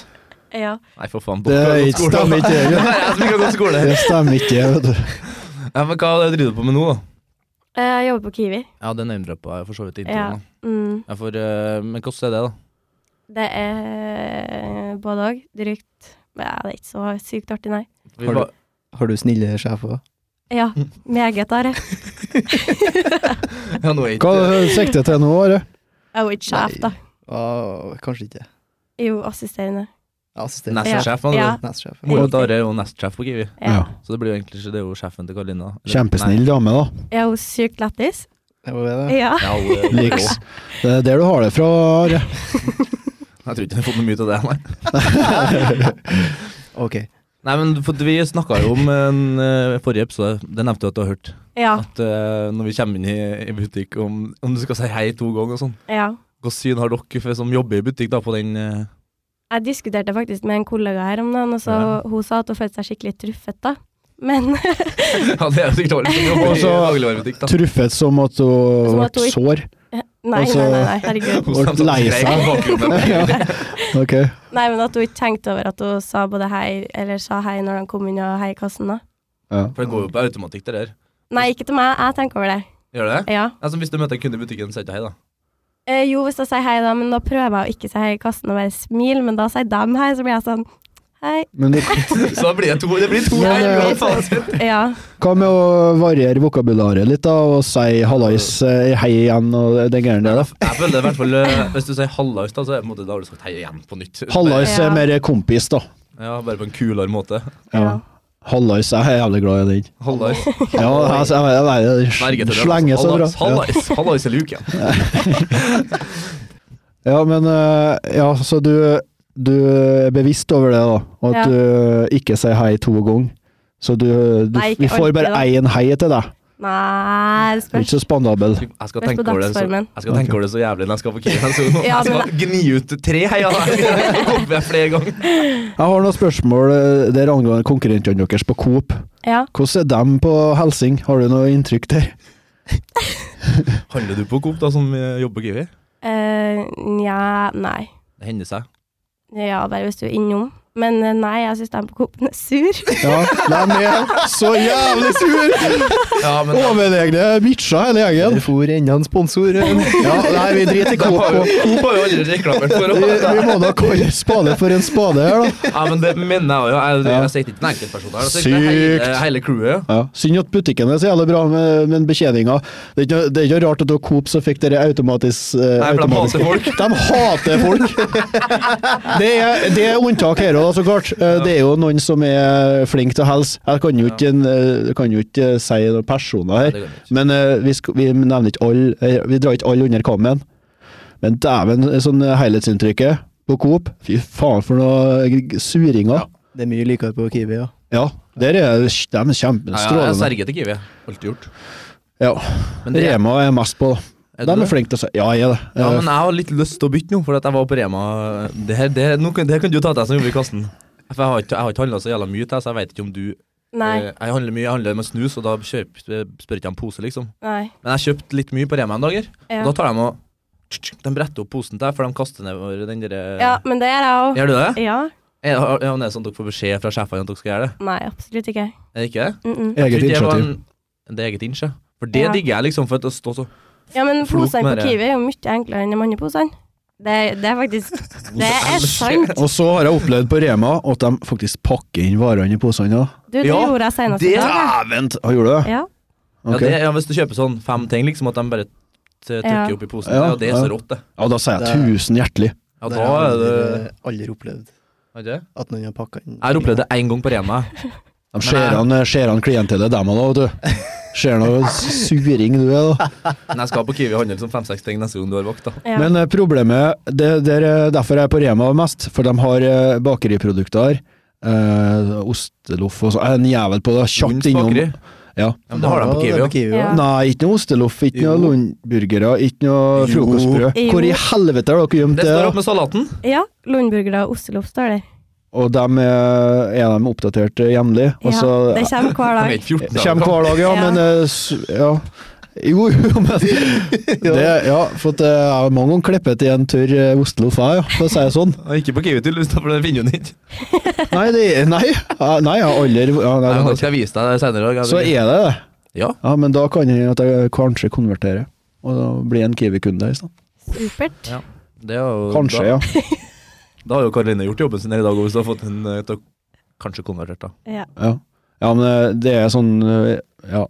S5: Ja.
S1: Nei, for faen.
S2: Det
S1: Bokke har
S2: er
S1: gått
S2: ikke-
S1: skole.
S2: stemmer ikke,
S1: Det
S2: det.
S1: er jeg som ikke har gått skole.
S2: Det stemmer ikke, vet du.
S1: Ja, men hva driver du på med nå, da?
S5: Eh, Jeg jobber på Kiwi.
S1: Ja, det name-droppa jeg for så vidt i
S5: Ja.
S1: introen. da.
S5: Mm.
S1: Ja, for, eh, men hvordan er det, da?
S5: Det er både òg. Drygt. Ja, det er ikke så sykt artig, nei.
S1: Vi
S3: Har du-
S1: var-
S3: Har du snille sjefer?
S5: Ja, meget har jeg.
S1: Ja, nå er ikke
S2: Hva sikter til nå, Are?
S5: Jeg er jo ikke sjef, da.
S3: Ah, kanskje ikke.
S5: Jo, assisterende.
S3: Assistent.
S5: Ja.
S1: Nestsjef, man.
S5: Ja.
S1: Ja.
S3: Nestsjef.
S1: Mora til Are er jo nestsjef på Kiwi,
S5: Ja.
S1: så det blir jo egentlig ikke det er jo sjefen til Karolina. Eller-
S2: Kjempesnill dame, da.
S5: Jeg er jo sykt lættis.
S3: Det var det,
S5: Ja.
S1: Nei, Ja, hun er-
S2: Liks. Det er der du har det fra, Are.
S1: Jeg tror ikke hun har fått noe mye ut av det, nei.
S3: da. Ok.
S1: Nei, men for Vi snakka jo om en eh, forrige episode, det nevnte du at du har hørt.
S5: Ja.
S1: At eh, når vi kommer inn i, i butikk, om, om du skal si hei to ganger og sånn.
S5: ja.
S1: Hvilket syn har dere for, som jobber i butikk, da, på den eh,
S5: Jeg diskuterte faktisk med en kollega her om dagen, og så
S1: Ja.
S5: hun sa at hun følte seg skikkelig truffet, da. Men
S1: Ja, det er jo sikkert alle som jobber i
S2: Også-
S1: dagligvarebutikk, da.
S2: Truffet som at hun
S5: Som
S2: ble
S5: at hun ikke-
S2: sår.
S5: Nei,
S2: Altså-
S5: nei, nei, nei, herregud.
S2: Ble lei seg. Ja. Ok.
S5: Nei, men at hun ikke tenkte over at hun sa både hei, eller sa hei når han kom inn og hei i kassen, da.
S2: Ja.
S1: For det går jo på automatikk, det der.
S5: Nei, ikke til meg, jeg tenker over det.
S1: Gjør det det?
S5: Ja.
S1: Altså, hvis du møter en kunde i butikken, sier du ikke hei, da.
S5: Eh, jo, hvis jeg sier hei, da, men da prøver jeg å ikke si hei i kassen og bare smile, men da sier de hei, så blir jeg sånn hei.
S2: Men det,
S1: Så da blir det to, det blir to
S2: Ja,
S1: hei,
S2: det-
S1: uansett.
S5: Ja.
S2: hva med å variere vokabularet litt, da, og si hallais, eh, hei igjen og den greiene der, da?
S1: Jeg føler det i hvert fall eh, Hvis du sier hallaus, da, så er det på en måte da har du sagt hei igjen på nytt.
S2: Hallais er
S5: Ja.
S2: mer kompis, da.
S1: Ja, bare på en kulere måte.
S5: Ja.
S2: Hallais, jeg er jævlig glad i den.
S1: Hallaus.
S2: Ja, altså, jeg, jeg, jeg, jeg,
S1: Sverge til det. altså.
S2: slenger så bra.
S1: Hallais, Hallais, hallais i luken.
S2: Ja, ja men eh, Ja, så du, du er bevisst over det, da. Og at
S5: Ja.
S2: du ikke sier hei to ganger. Så du, du
S5: Nei, ikke
S2: Vi får bare
S5: alltid,
S2: én hei til deg.
S5: Nei,
S2: Du er
S5: det spørs.
S2: ikke så spandabel.
S1: Jeg skal
S5: Først
S1: tenke
S5: på
S1: over det så,
S5: dagsformen.
S1: jeg skal tenke over det så jævlig når jeg skal på Kiwi. Så nå-
S5: Ja,
S1: jeg skal gni ut tre heier. Det håper jeg flere ganger.
S2: Jeg har noen spørsmål eh, der angående konkurrentene deres på Coop.
S5: Ja.
S2: Hvordan er dem på Helsing? Har du noe inntrykk der?
S1: Handler du på Coop, da, som eh, jobber på Kiwi?
S5: Eh, Nja, nei.
S1: Det hender seg.
S5: Ja, bare hvis du er innom. Men eh, nei, jeg syns de på Coop-en er sur.
S2: Ja, de er så jævlig sur!
S1: Ja, men
S2: Overlegne bitcher hele gjengen.
S3: Det for enda en sponsor.
S2: Ja, nei, vi driter i
S1: Coop har
S2: Coop.
S1: jo Coop har jo aldri reklamert for
S2: Vi,
S1: oss.
S2: vi må da kalle spade for en spade her, da.
S1: Ja, men det mener jeg jo. Jeg, jeg sier ikke en enkeltperson her. Jeg sier hele,
S2: Sykt.
S1: hele crewet.
S2: Ja. Synd at butikken er så jævlig bra, men, men betjeninga Det er ikke noe- det er ikke rart at det var Coop som fikk dere automatisk eh,
S1: Nei, for de
S2: automatisk-
S1: hater folk.
S2: De hater folk! Det er, det er unntak her òg, så klart. Eh, Det er jo noen som er flinke til å hilse. Jeg kan jo ikke, en, eh, kan jo ikke si noen personer
S1: det
S2: her,
S1: kan vi
S2: men eh, vi, sk- vi nevner ikke alle eh, Vi drar ikke alle under kammen. Men dæven, sånn eh, helhetsinntrykket på Coop Fy faen, for noe eh, suringer.
S3: Det er mye likere på Kiwi, ja.
S2: Ja, der er de er
S1: Ja, ja, jeg
S2: kjempestrålende.
S1: sverger til Kiwi. Alltid gjort.
S2: Ja,
S1: Men det-
S2: Rema er mest på.
S1: Er
S2: De
S1: du
S2: er
S1: det?
S2: flinke til å si Ja, jeg er det.
S1: Ja,
S2: Eh,
S1: men jeg har litt lyst til å bytte nå, for at jeg var på Rema Det her, det, her- nå kan, det her kan du ta til deg som jobber i kassen. For jeg har ikke, jeg har ikke handla så jævla mye til, så jeg vet ikke om du
S5: Nei.
S1: eh, Jeg handler mye, jeg handler med snus, og da kjøp, spør ikke jeg om pose, liksom.
S5: Nei.
S1: Men jeg kjøpte litt mye på Rema en dag, her,
S5: Ja.
S1: og da tar de og De bretter opp posen til deg, for de kaster nedover den derre
S5: ja, men det gjør jeg òg.
S1: Gjør du det?
S5: Ja.
S1: Er, er det sånn at dere får beskjed fra sjefene at dere skal gjøre det?
S5: Nei, absolutt ikke.
S1: Er det ikke det?
S5: Mm -mm.
S2: Eh, Eget
S1: Jeg tror det var
S2: initiativ.
S1: En, det er eget innsjø. For det
S5: Ja.
S1: digger jeg, liksom, for at å stå så
S5: Ja, men
S1: Flott
S5: posene
S1: med
S5: på
S1: det.
S5: Kiwi er jo mye enklere enn de andre posene. Det, det er faktisk Det er sant.
S2: Og så har jeg opplevd på Rema at de faktisk pakker inn varene i posene. ja.
S5: Du, det
S1: Ja,
S5: gjorde jeg senest i
S1: det-
S5: dag. jeg.
S2: Dæven! Ah, Gjorde du det?
S5: Ja.
S2: Ok.
S1: ja, det, ja, Hvis du kjøper sånn fem ting, liksom, at de bare t- trykker
S5: Ja.
S1: opp i posen,
S2: Ja,
S1: ja, det er så
S2: ja.
S1: rått, det.
S2: Ja, da sier jeg
S3: Det er-
S2: tusen hjertelig.
S1: Ja,
S3: Det
S1: da
S3: har
S1: er
S3: jeg
S1: det
S3: aldri, aldri opplevd
S1: Har ikke det?
S3: at noen har pakka inn
S1: Jeg har opplevd det én gang på Rema.
S2: De ser an, ser an klientellet, dem òg, vet du. Ser noe suring du er, da.
S1: Men jeg skal på Kiwi handle som fem-seks ting neste gang du har vakt. da
S5: Ja.
S2: Men eh, problemet det, det er eh, Derfor er jeg på Rema mest, for de har eh, bakeriprodukter. Eh, osteloff og sånn. Jeg er En jævel på det.
S1: Lunds
S2: Kjapt innom.
S1: bakeri.
S2: Ja.
S1: Ja, men det har de på Kiwi
S3: Ja,
S1: òg.
S3: også.
S5: Ja.
S2: Nei, ikke noe osteloff, ikke noe
S3: Jo.
S2: lundburgere, ikke noe
S3: Jo.
S2: frokostbrød.
S5: Jo.
S2: Hvor i helvete har dere gjemt
S1: Det
S2: det?
S1: står
S2: da?
S1: opp med salaten.
S5: ja. Lundburgere og ostelopp står der.
S2: Og de er, er de oppdatert eh, jevnlig?
S5: Ja,
S2: Og så
S5: det kommer hver
S1: De
S5: dag.
S1: er ikke 14 dager
S2: kommer hver dag, ja,
S5: Ja.
S2: men eh, s- ja. Jo, jo, men det, Ja, for at eh, jeg har mange ganger klippet i en tørr eh, osteloff, jeg, ja, for å si det sånn.
S1: gammel. Og Ikke på Kiwi, tydeligvis, da, for det finner hun ikke.
S2: Nei, det, nei, ja, nei, jeg har aldri ja, nei,
S1: Nei,
S2: det
S1: men
S2: har
S1: Da
S2: jeg ikke.
S1: skal jeg vise deg det senere. i dag.
S2: Så er det det.
S1: Ja.
S2: Ja, men da kan jeg at jeg kanskje konverterer, og da blir jeg en Kiwi-kunde i stedet.
S5: Supert.
S1: Ja. Det er jo,
S2: Kanskje,
S1: da,
S2: ja.
S1: Da har jo Karoline gjort jobben sin her i dag, og hvis du har fått en eh, til å kanskje konvertert, da.
S5: Ja.
S2: Ja, ja men eh, det er sånn eh, Ja,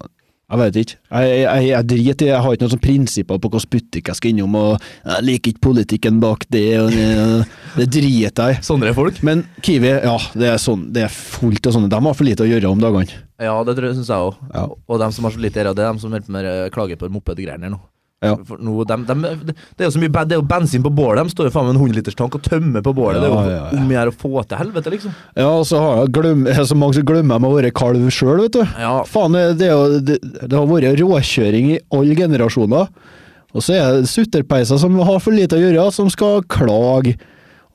S2: jeg vet ikke. Jeg, jeg, jeg driter i Jeg har ikke noen sånn prinsipper på hvilken butikk jeg skal innom, og jeg liker ikke politikken bak det, og det, det driter jeg i.
S1: Sånne folk.
S2: Men Kiwi, ja, det er, sånn, det er fullt av sånne. De har for lite å gjøre om dagene.
S1: Ja, det tror jeg- synes jeg òg.
S2: Ja.
S1: Og dem som har så lite å gjøre, det er dem som hjelper med eh, klager på mopedgreiene her nå.
S2: Ja.
S1: For nå, dem, dem, det det er jo så mye ben- Det er jo bensin på bålet. De står jo faen med en 100-literstank og tømmer på bålet. det
S2: Ja,
S1: er jo
S2: ja, ja.
S1: om å gjøre å få til helvete, liksom.
S2: ja, og så har jeg glem, det er så mange som glemmer jeg å være kalv sjøl, vet du.
S1: Ja,
S2: Faen, det, er jo- det, det har vært råkjøring i alle generasjoner. Og så er det sutterpeiser som har for lite å gjøre, som skal klage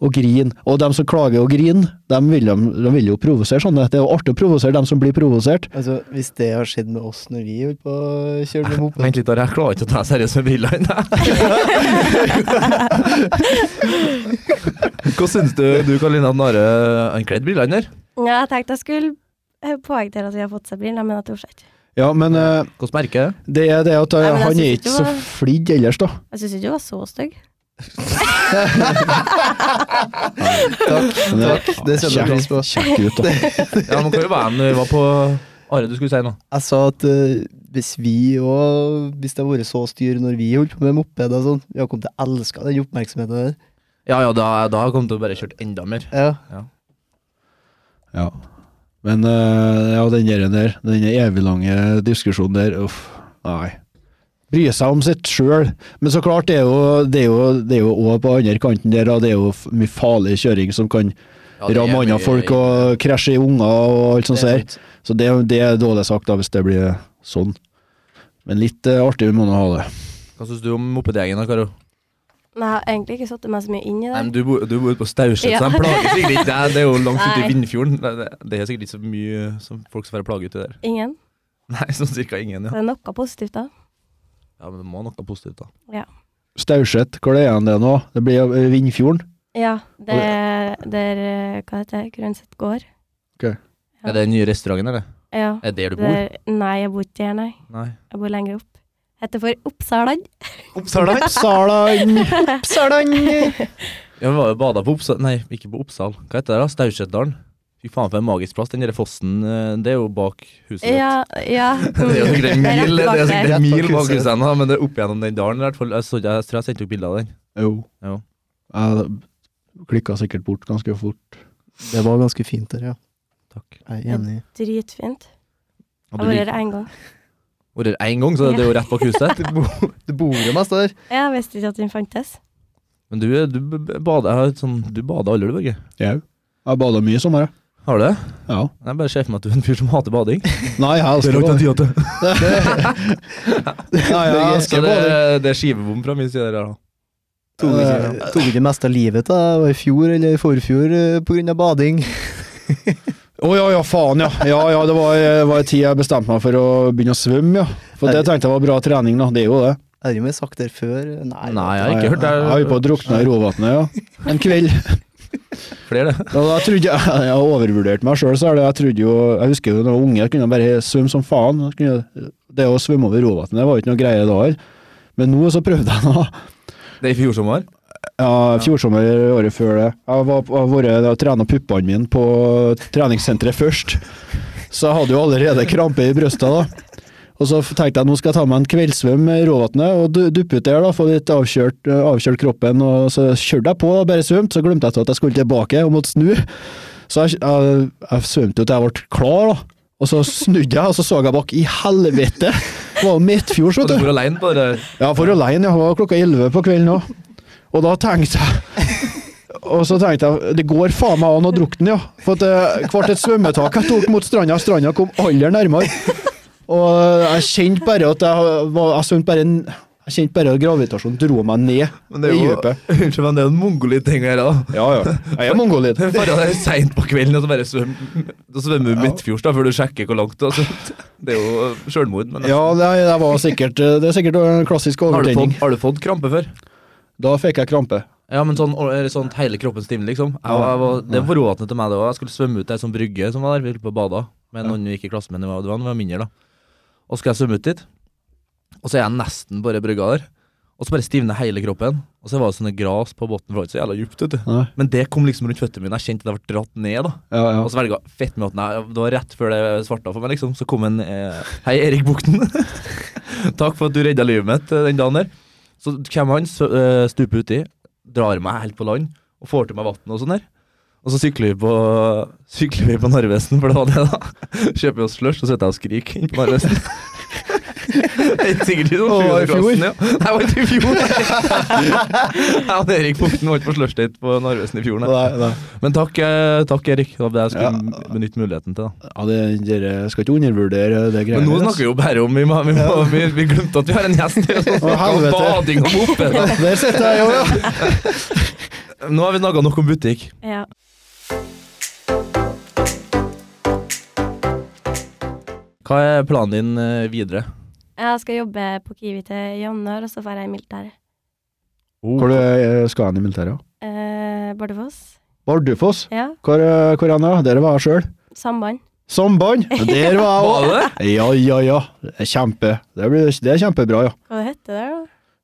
S2: og grine. Og dem som klager og griner, dem vil, dem, dem vil jo provosere sånne. Det er jo artig å provosere dem som blir provosert.
S3: Altså, hvis det har skjedd med oss når vi holdt på å kjøre med moped
S1: Vent litt, Are, jeg klarer ikke å ta deg seriøst med brillene. Hva syns du, du Karoline, at Nare har kledd brillene der?
S5: Ja, jeg tenkte jeg skulle eh, poengtere at vi har fått seg briller, men jeg torde ikke.
S2: Ja, men eh,
S1: Hvordan merker jeg det?
S2: det er det at eh,
S5: Nei, men jeg
S2: han er
S5: synes ikke
S2: ikke så
S5: det var-
S2: flid ellers, da.
S5: Jeg syns ikke du var så stygg.
S2: Takk,
S3: det setter jeg pris på.
S2: Kjekk ut, da.
S1: Ja, men hva var det var på Are, du skulle si noe.
S3: Jeg sa at eh, hvis vi òg Hvis det hadde vært så styr når vi holdt på med moped og sånn Vi hadde kommet til å elske den oppmerksomheten der.
S1: Ja ja, da, da kom du bare kjørt enda mer.
S3: Ja.
S2: Ja. Men eh, ja, den der, der, den eviglange diskusjonen der, uff, nei. Bry seg om sitt sjøl. Men så klart, det er jo det er jo, det er jo også på andre kanten der, da. det er jo f- mye farlig kjøring som kan
S1: Ja, det er
S2: ramme andre
S1: mye-
S2: folk og krasje i unger og alt sånt.
S3: Det er
S2: der. Så det, det er dårlig sagt, da, hvis det blir sånn. Men litt eh, artig må nå ha det.
S1: Hva syns du om mopedgjengen da, Karo?
S5: Men jeg har egentlig ikke satt meg så mye inn i
S1: Nei, men
S5: det.
S1: du, bor- du bor ute på Staurset,
S5: Ja.
S1: så de plager sikkert ikke deg. Det er jo langt ute i
S5: Nei.
S1: Vindfjorden. Det, det- det er sikkert ikke så mye som folk som får plage uti der.
S5: Ingen.
S1: Nei, sånn cirka ingen, ja.
S5: Det er noe positivt, da.
S1: Ja, Men det må noe positivt, da.
S2: Staurset, hvor er det igjen det nå? Det blir eh, Vindfjorden?
S5: Ja, det er Der eh, Hva heter det? Grønnsett gård? Ja.
S1: Er det den nye restauranten, eller?
S5: Ja.
S1: Er det der du bor?
S5: Der, nei, jeg bor ikke der, nei.
S1: Nei.
S5: Jeg bor lenger opp. Heter for Oppsaland.
S3: Oppsala?
S2: Salang!
S1: Ja, vi var jo bada på Oppsal Nei, ikke på Oppsal. Hva heter det da? Staurseddalen. Fy faen for en magisk plass. Den der fossen, eh, det er jo bak huset ditt.
S5: Ja, ja.
S1: Det er jo sikkert en mil, det er jo sikkert
S5: rett bak der.
S1: en mil
S2: Rett bak
S1: bak
S2: huset.
S1: huset ennå, men det er opp gjennom den dalen i hvert fall. Jeg, så, jeg tror jeg sendte dere bilde av den.
S2: Jo.
S1: Jo.
S2: Jeg klikka sikkert bort ganske fort.
S3: Det var ganske fint der, ja.
S1: Takk.
S3: Jeg er enig.
S5: Dritfint. Jeg
S1: Hadde du
S5: har vært
S1: vært
S5: der én gang.
S1: der én gang, så det er jo rett bak huset.
S3: Du, bo, du bor jo mest der.
S5: Jeg visste ikke at den fantes.
S1: Men du, du b- b- bader jeg har et sånn, Du bader aldri, du, Børge.
S2: Jau. Jeg bada mye i sommer, jeg.
S1: Har du det?
S2: Ja.
S1: Jeg bare ser for meg at du er en fyr som hater bading.
S2: Nei, jeg elsker å bade. Nei, jeg
S1: Så
S2: elsker å
S1: det,
S2: bade.
S1: det er skivebom fra min side. der da.
S3: Tok
S2: Eh,
S3: ikke, tok ikke mest av livet da, Det var i fjor eller i forfjor eh, på grunn av bading.
S2: Å ja, ja, faen, ja. Ja, ja, det var, det var en tid jeg bestemte meg for å begynne å svømme, ja. For det tenkte jeg var bra trening, da. Det er jo det.
S3: Er det jo mye sagt der før? Nei.
S1: Nei, jeg har ikke hørt det.
S2: Jeg holdt på å drukne i råvannet, ja. En kveld.
S1: Flere, det.
S2: Og da trodde jeg, jeg har overvurdert meg sjøl, så er det jeg trodde jo Jeg husker jo da jeg var unge, jeg kunne bare svømme som faen. Jeg Kunne, det å svømme over Råvatnet det var jo ikke noe greie da heller. Men nå så prøvde jeg nå.
S1: Det er i fjor sommer.
S2: Ja, Fjorsommer året før det. Jeg var- jeg har vært og trena puppene mine på treningssenteret først, så jeg hadde jo allerede krampe i brystet da. Og så tenkte jeg nå skal jeg ta meg en kveldssvøm i Råvatnet og du- duppe ut der, da, få litt avkjørt, avkjølt kroppen. Og så kjørte jeg på og bare svømte, så glemte jeg til at jeg skulle tilbake og måtte snu. Så jeg, jeg, jeg svømte jo til jeg ble klar, da. Og så snudde jeg, og så så jeg bak i helvete! Det var jo midtfjords,
S1: Og
S2: vet
S1: du
S2: du.
S1: bor alene på det.
S2: Ja, for alene. Jeg var klokka 11 på kvelden òg. Og da tenkte jeg Og så tenkte jeg det går faen meg an å drukne, ja. For at det hvert et svømmetak jeg tok mot stranda, stranda kom aller nærmere. Og jeg kjente bare at jeg var Jeg svømte bare Jeg kjente bare at gravitasjonen dro meg
S1: Men
S2: ned
S1: det er
S2: i
S1: jo,
S2: dypet.
S1: unnskyld, men det er jo en mongolid ting å gjøre. da.
S2: Ja, ja. Jeg er mongolid.
S1: Det er Bare det er seint på kvelden, og så bare svømmer da svømmer du midtfjords da, før du sjekker hvor langt. Altså. Det er jo eh, sjølmord. Men
S2: Ja, det, det var sikkert eh, Det er sikkert en klassisk
S1: har, du
S2: overtenning.
S1: fått, har du fått krampe før?
S2: Da fikk jeg krampe.
S1: Ja, men sånn, eller sånn hele kroppens time, liksom. Jeg, var- jeg var, det var råvatnet til meg, det òg. Jeg skulle svømme ut til ei sånn brygge som var der, vi holdt på å bade med noen vi gikk i klasse med, det var, det var- det var mindre, da. Og skal jeg svømme ut dit, og så er jeg nesten bare i brygga der. Og så bare stivner hele kroppen. Og så var det sånne gras på bunnen, for det var ikke så jævla dypt, vet du.
S2: Nei.
S1: Men det kom liksom rundt føttene mine, jeg kjente det ble dratt ned, da.
S2: Ja, ja.
S1: eh, Og så velga fett med at nei, det var rett før det svarta for meg, liksom. Så kom en eh, Hei, Erik Bukten. Takk for at du redda livet mitt eh, den dagen der. Så kommer han, så, eh, stuper uti, drar meg helt på land og får til meg vann og sånn der. Og så sykler vi på Sykler vi på Narvesen, for det var det, da. Kjøper oss slush, så sitter jeg og skriker inne på Narvesen. Det er Sikkert i sånn
S2: Å, var det i fjor?
S1: sjuendeklassen, ja. Nei, det var ikke i fjor. Jeg og Erik Bukten var ikke på slushdate på Narvesen i fjor, nei.
S2: Nei, nei.
S1: Men takk, eh, takk Erik. Det var det jeg skulle
S2: Ja.
S1: benytte muligheten til. da.
S2: Ja, det, dere skal ikke undervurdere det greiene.
S1: Men nå
S2: der,
S1: snakker vi jo bare om Vi, må, vi, må, vi, vi glemte at vi har en gjest her sånn som snakker om
S2: helvete.
S1: bading og moped.
S2: altså. Der sitter jeg jo, ja.
S1: Nå har vi snakka nok om butikk.
S5: Ja.
S1: Hva er planen din eh, videre?
S5: Jeg skal jobbe på Kiwi til januar, og så drar jeg i militæret.
S2: Hvor du, eh, skal han i militæret?
S5: Eh, Bardufoss.
S2: Bardufoss.
S5: Ja.
S2: Hvor, eh, hvor han er? Der var jeg sjøl.
S5: Samband.
S2: Samband! Der var jeg
S1: Var det det?
S2: òg! Ja, ja, ja. Kjempe. Det, blir, det er kjempebra, ja.
S5: Hva det heter det, da?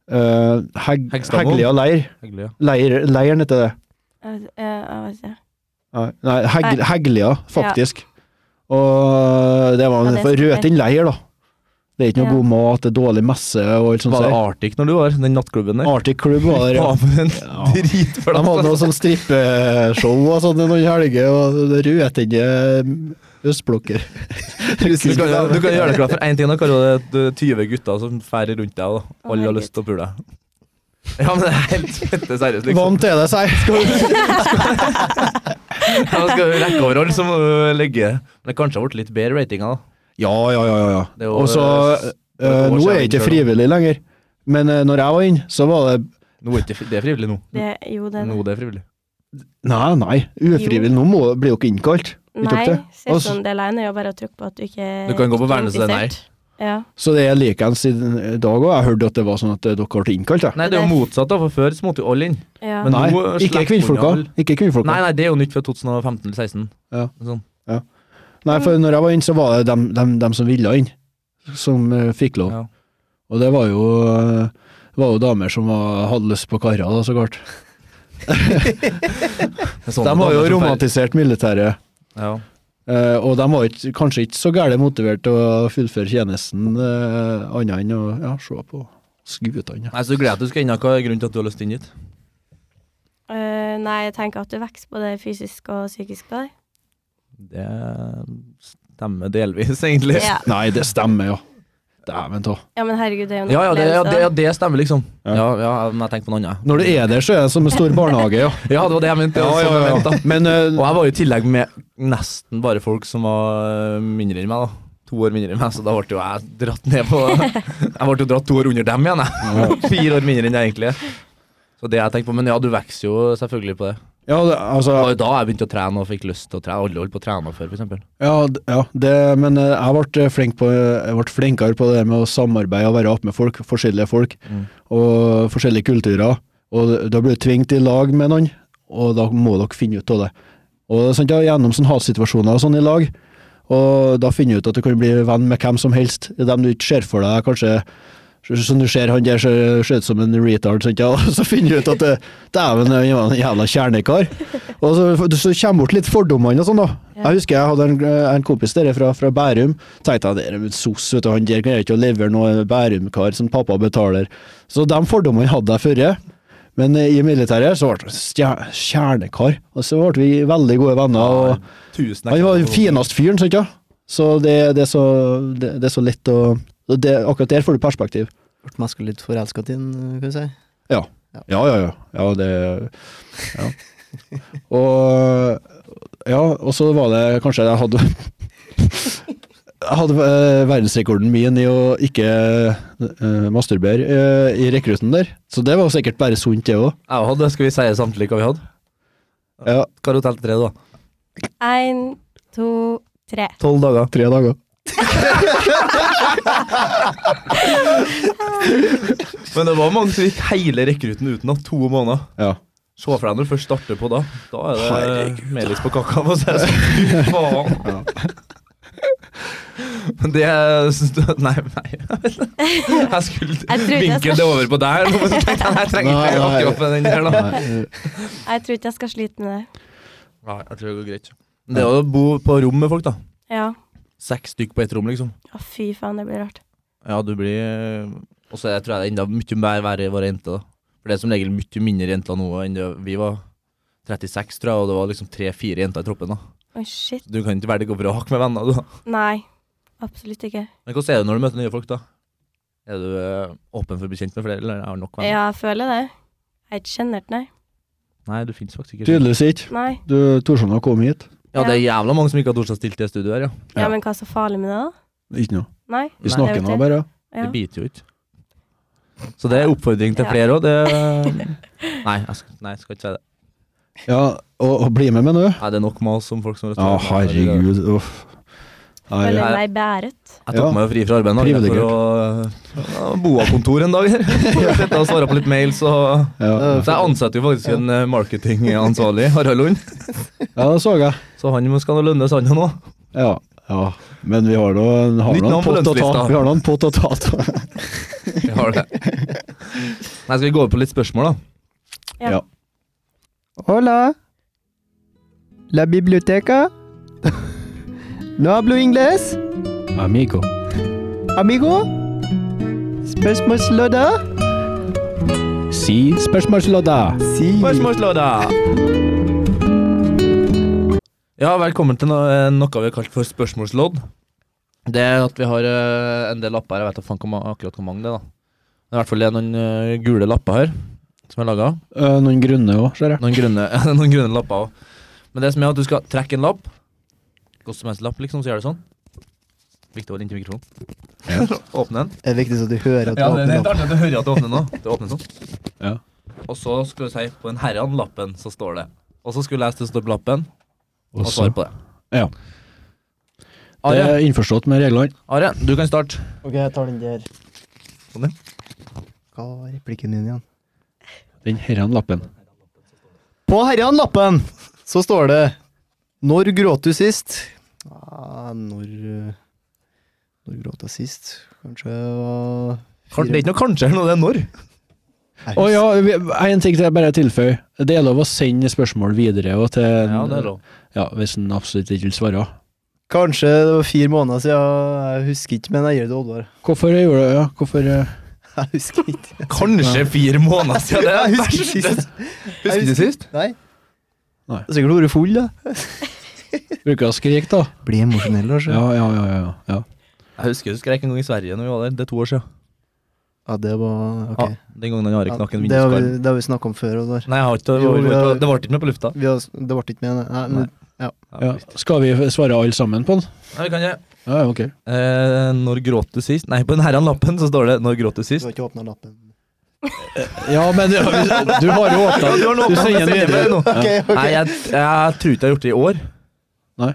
S2: Uh, Heg,
S1: Hegstadmoen.
S2: Heglia leir.
S1: Hyggelig, ja.
S2: leir. Leiren heter det.
S5: Jeg vet, eh, jeg vet ikke.
S2: Nei, Nei, Heg,
S5: Nei.
S2: Heglia, faktisk. Og det var
S5: Ja,
S2: en
S5: det
S2: for
S5: stemmer.
S2: røtin leir, da. Det er ikke noe
S5: Ja.
S2: god mat, det er dårlig messe og alt sånt.
S1: Var det
S2: der.
S1: Arctic når du var den nattklubben der?
S2: Arctic Club var der, ja.
S1: Faen, for en
S2: Ja.
S1: drit for
S2: De hadde
S1: deg.
S2: noe sånn strippeshow og sånn noen helger, og rødtende østblokker.
S1: Du kan, du kan gjøre deg klar for én ting. Da kan det er 20 gutter som fer rundt deg, og alle har
S5: herregud.
S1: lyst til å pule deg. Ja, men det er helt fette seriøst, liksom.
S2: Vant er det, sier
S1: Ja, skal du rekke over alle, så må du legge Men det kanskje har blitt litt bedre ratinga, da.
S2: Ja, ja, ja. ja,
S1: Det
S2: ja.
S1: er jo,
S2: Og så
S1: eh,
S2: eh, Nå er jeg ikke frivillig lenger, men eh, når jeg var inne, så var det
S1: Nå er ikke fri- det er frivillig nå.
S5: Det, jo, det er
S1: Nå
S5: det.
S1: det er frivillig.
S2: Nei, nei, ufrivillig. Nå må, blir jo ikke innkalt. Vi tok
S5: Nei,
S2: det. Og så-
S5: sesondelen er jo bare å trykke på at du ikke
S1: Du kan gå på
S5: ikke er
S1: vernet, så det er nei.
S5: interessert. Ja.
S2: Så det er likeens i i dag òg. Jeg hørte at det var sånn at eh, dere ble innkalt. Jeg.
S1: Nei, det er jo motsatt, da, for før så måtte jo alle inn.
S5: ja.
S1: Men
S2: Nei,
S1: nå slipper
S2: ikke
S1: man
S2: kvinnfolka.
S1: jo alle.
S2: Ikke kvinnfolka.
S1: Nei,
S2: Nei,
S1: nei, det er jo nytt fra 2015-16.
S2: Ja.
S1: Sånn.
S2: for når jeg var inne, så var det dem, dem, dem som ville inn, som eh, fikk lov.
S1: Ja.
S2: Og det var jo, eh, det var jo damer som var, hadde lyst på karer, da, så klart.
S1: Det er sånn
S2: de
S1: at
S2: var jo
S1: damer som fer-
S2: romantisert militæret.
S1: Ja.
S2: Eh, og de var ikke, kanskje ikke så gærent motivert til å fullføre tjenesten, eh, annet enn å ja, se på skutene.
S1: Nei, så gleder jeg at du skal inn. Hva er grunnen til at du har lyst inn hit?
S5: Eh, nei, jeg tenker at du vokser både fysisk og psykisk på deg.
S1: Det stemmer delvis, egentlig.
S5: Ja.
S2: Nei, det stemmer, ja. Dæven ta.
S5: ja, men herregud, det er jo sånn. en
S1: Ja, ja, det, ja, det, ja,
S5: opplevelse.
S1: det stemmer, liksom.
S2: Ja.
S1: Ja, ja, men jeg tenkte på noe annet.
S2: Når du er der, så er det som en stor barnehage, ja.
S1: Ja, det var det jeg mente. det var sånn jeg mente, da.
S2: Men eh,
S1: Og jeg var jo i tillegg med nesten bare folk som var øh, mindre enn meg, da. To år mindre enn meg, så da ble jo jeg dratt ned på Jeg ble jo dratt to år under dem igjen, jeg. Fire år mindre enn jeg egentlig er. Så det jeg tenkte på, Men ja, du vokser jo selvfølgelig på det.
S2: ja, det,
S1: Det
S2: altså,
S1: var jo da jeg begynte å trene og fikk lyst til å trene. Alle holdt på å trene før, f.eks.
S2: Ja, d- ja det, men eh, jeg ble, flink på, jeg ble flinkere på det med å samarbeide og være opp med folk, forskjellige folk,
S1: Mm.
S2: og forskjellige kulturer. Og d- da blir du tvingt i lag med noen, og da må dere finne ut av det. Og det er sant, ja, Gjennom sånne hatsituasjoner og sånn i lag, og da finner du ut at du kan bli venn med hvem som helst. Dem du ikke ser for deg, kanskje som du ser han der ser ser ut som en retard, sant, ja, og så finner du ut at det- dæven, han var en jævla kjernekar. Og så, så kommer bort litt fordommene og sånn, da.
S5: Ja.
S2: Jeg husker jeg hadde en, en kompis der fra, fra Bærum. Tenkte jeg det er en sos, vet du, han der greier ikke å levere noe Bærum-kar som pappa betaler. Så de fordommene hadde jeg forrige. Men eh, i militæret så ble det stjer- kjernekar. Og så ble vi veldig gode venner. og
S1: Tusen
S2: han var den fineste fyren, sant ja? Så det, det, er så, det, det er så lett å og det, Akkurat der får du perspektiv.
S3: Ble meg skulle litt forelska i den, kan vi si.
S2: Ja, ja, ja. ja det ja. Og Ja, og så var det kanskje jeg hadde Jeg hadde eh, verdensrekorden min i å ikke eh, masturbere eh, i rekrutten der. Så det var sikkert bare sunt, det òg.
S1: Jeg hadde, skal vi si samtidig hva vi hadde?
S2: Ja,
S1: Hva har du telt tre, da?
S5: Én, to, tre.
S1: Tolv dager.
S2: tre dager.
S1: Men det var mange som gikk hele rekrutten uten da. To måneder.
S2: Ja.
S1: Se for deg når du først starter på da. Da er det melis på kakka. for å si det sånn. Fy faen. Men det syns du Nei, nei. Jeg skulle
S5: Jeg trodde jeg
S1: vinkle
S5: skal-
S1: det over på deg, men så tenkte jeg nei, jeg trenger
S2: Nei,
S1: ikke
S2: nei.
S1: akkurat med den der, da.
S2: Nei, eh,
S5: Jeg tror ikke jeg skal slite med det.
S1: Nei, jeg tror det går greit. Det er å bo på rom med folk, da.
S5: Ja.
S1: Seks stykk på ett rom, liksom.
S5: Å, fy faen, det blir rart.
S1: Ja, du blir eh, Og så jeg tror jeg det er enda mye mer verre i våre jenter, da. For det er som regel mye mindre jenter nå enn det vi var. 36, tror jeg, og det var liksom tre-fire jenter i troppen. da
S5: Oi, shit.
S1: Du kan ikke velge å vrake med venner, du. da.
S5: Nei. Absolutt ikke.
S1: Men hvordan er det når du møter nye folk, da? Er du eh, åpen for å bli kjent med flere, eller har du nok venner?
S5: Ja, jeg føler det. Jeg er ikke sjenert, nei.
S1: Nei, du finnes faktisk ikke.
S2: Tydeligvis ikke.
S5: Nei.
S2: Du, Torsson har kommet hit.
S1: Ja, det er jævla mange som ikke har tort å stille til det studioet her, ja.
S5: Ja,
S2: Ja.
S5: men hva er så farlig med det, da?
S2: Ikke noe.
S5: Nei.
S2: Vi
S1: Nei,
S2: snakker nå bare.
S5: Ja.
S1: Det biter jo ikke. Så det er oppfordring til
S5: Ja.
S1: flere òg, det Nei, jeg skal, nei, jeg skal ikke si det.
S2: Ja, og, og bli med meg nå.
S1: Nei, det er nok mas om folk som
S2: Ja, herregud, uff. Nei,
S5: Føler
S1: ja.
S5: meg bæret.
S1: Jeg tok
S2: Ja.
S1: meg jo fri fra arbeid nå jeg, for å ja, bo av kontor en dag. her. Sitte og svare på litt mails og
S2: ja.
S1: Så jeg ansetter jo faktisk en eh, marketingansvarlig, Harald Lund.
S2: ja, det så jeg.
S1: Så han må- skal nå lønnes, han nå.
S2: Ja, ja. Men vi har nå en- har
S1: Nytt
S2: nå en
S1: navn på
S2: pott å ta.
S1: lønnslista.
S2: Vi har nå en pott å ta. ta.
S1: Vi har det. Nei, skal vi gå over på litt spørsmål, da?
S5: Ja.
S2: Ja.
S3: Hola. La biblioteca. No hablo inglés,
S2: Amigo.
S3: amigo. Spørsmålslodda.
S2: Si spørsmålslodda.
S3: Si.
S1: Spørsmålslåda! Ja, velkommen til noe, noe vi har kalt for spørsmålslodd. Det er at vi har eh, en del lapper her, jeg vet da faen hvor ma- akkurat hvor mange det er da. Men i hvert fall det er noen eh, gule lapper her, som er laget.
S2: Eh, noen grunne òg, ser jeg.
S1: Noen grønne, ja, det er noen grønne lapper også. Men det som er at du skal trekke en lapp, hvordan som helst lapp liksom, så gjør du sånn. Viktig å holde inntil mikrofonen. Åpne den.
S3: Det er viktig så du hører at du åpner opp.
S1: artig at du hører at du åpner nå. Du åpner sånn.
S2: Ja.
S1: Og så skal du si på den herran-lappen så står det. Og så skulle jeg lese det som står på lappen, og
S2: Også.
S1: svare på det.
S2: Ah, Ja. Det
S1: Are,
S2: er innforstått med reglene.
S1: Are, du kan starte.
S3: Ok, jeg tar den der.
S1: Sånn, ja.
S3: Hva var replikken min igjen?
S2: Den herren lappen.
S3: På herreanlappen så står det Når gråt du sist? Ja, når eh, Når gråt jeg sist? Kanskje jeg var
S1: Kan- Det er ikke noe kanskje her nå, det er når.
S3: Nei,
S2: Å ja, vi- en ting til jeg bare tilføyer. Det er lov å sende spørsmål videre og til
S1: Ja, det er lov.
S2: Ja, hvis en absolutt ikke vil svare.
S3: Kanskje det var fire måneder siden. Jeg husker ikke, men jeg gir det Oddvar.
S2: Hvorfor gjorde du det? Ja, hvorfor eh,
S3: Jeg husker ikke.
S1: Kanskje fire måneder siden. Det er
S3: Jeg husker
S1: verste.
S3: sist.
S1: Husker du sist?
S3: Nei.
S2: Nei.
S3: Det er Sikkert vært full, da.
S2: Bruker å skrike, da?
S3: Bli emosjonell, Lars.
S2: Ja, ja, ja. ja, ja.
S1: Jeg husker jeg skrek en gang i Sverige når vi var der. Det er to år siden.
S3: Ja, det var ok.
S1: Ja, den gangen han Are
S3: Ja,
S1: knakk en
S3: det har vi,
S1: vinduskarm.
S3: det har vi snakka om før, Oddvar.
S1: Nei, jeg har ikke, det
S3: Jo,
S1: var-
S3: vi
S1: det
S3: har-
S1: var- det ble ikke med på lufta.
S3: Vi har- Det ble ikke med, nei. nei.
S2: ja. Skal vi svare alle sammen på den?
S1: Nei, vi kan ikke.
S2: Ja, ok.
S1: Eh, når gråt du sist? Nei, på den herren lappen så står det 'Når gråt du
S3: Du
S1: sist'?
S3: har ikke åpna lappen.
S2: Ja, men du, du har jo åpna
S1: Ja, du har nå
S2: Du
S1: åpnet,
S2: sender
S1: jeg
S2: den
S1: sender
S2: videre.
S1: meg nå.
S2: Ja.
S1: Nei, jeg, jeg tror ikke jeg har gjort det i år.
S2: Nei.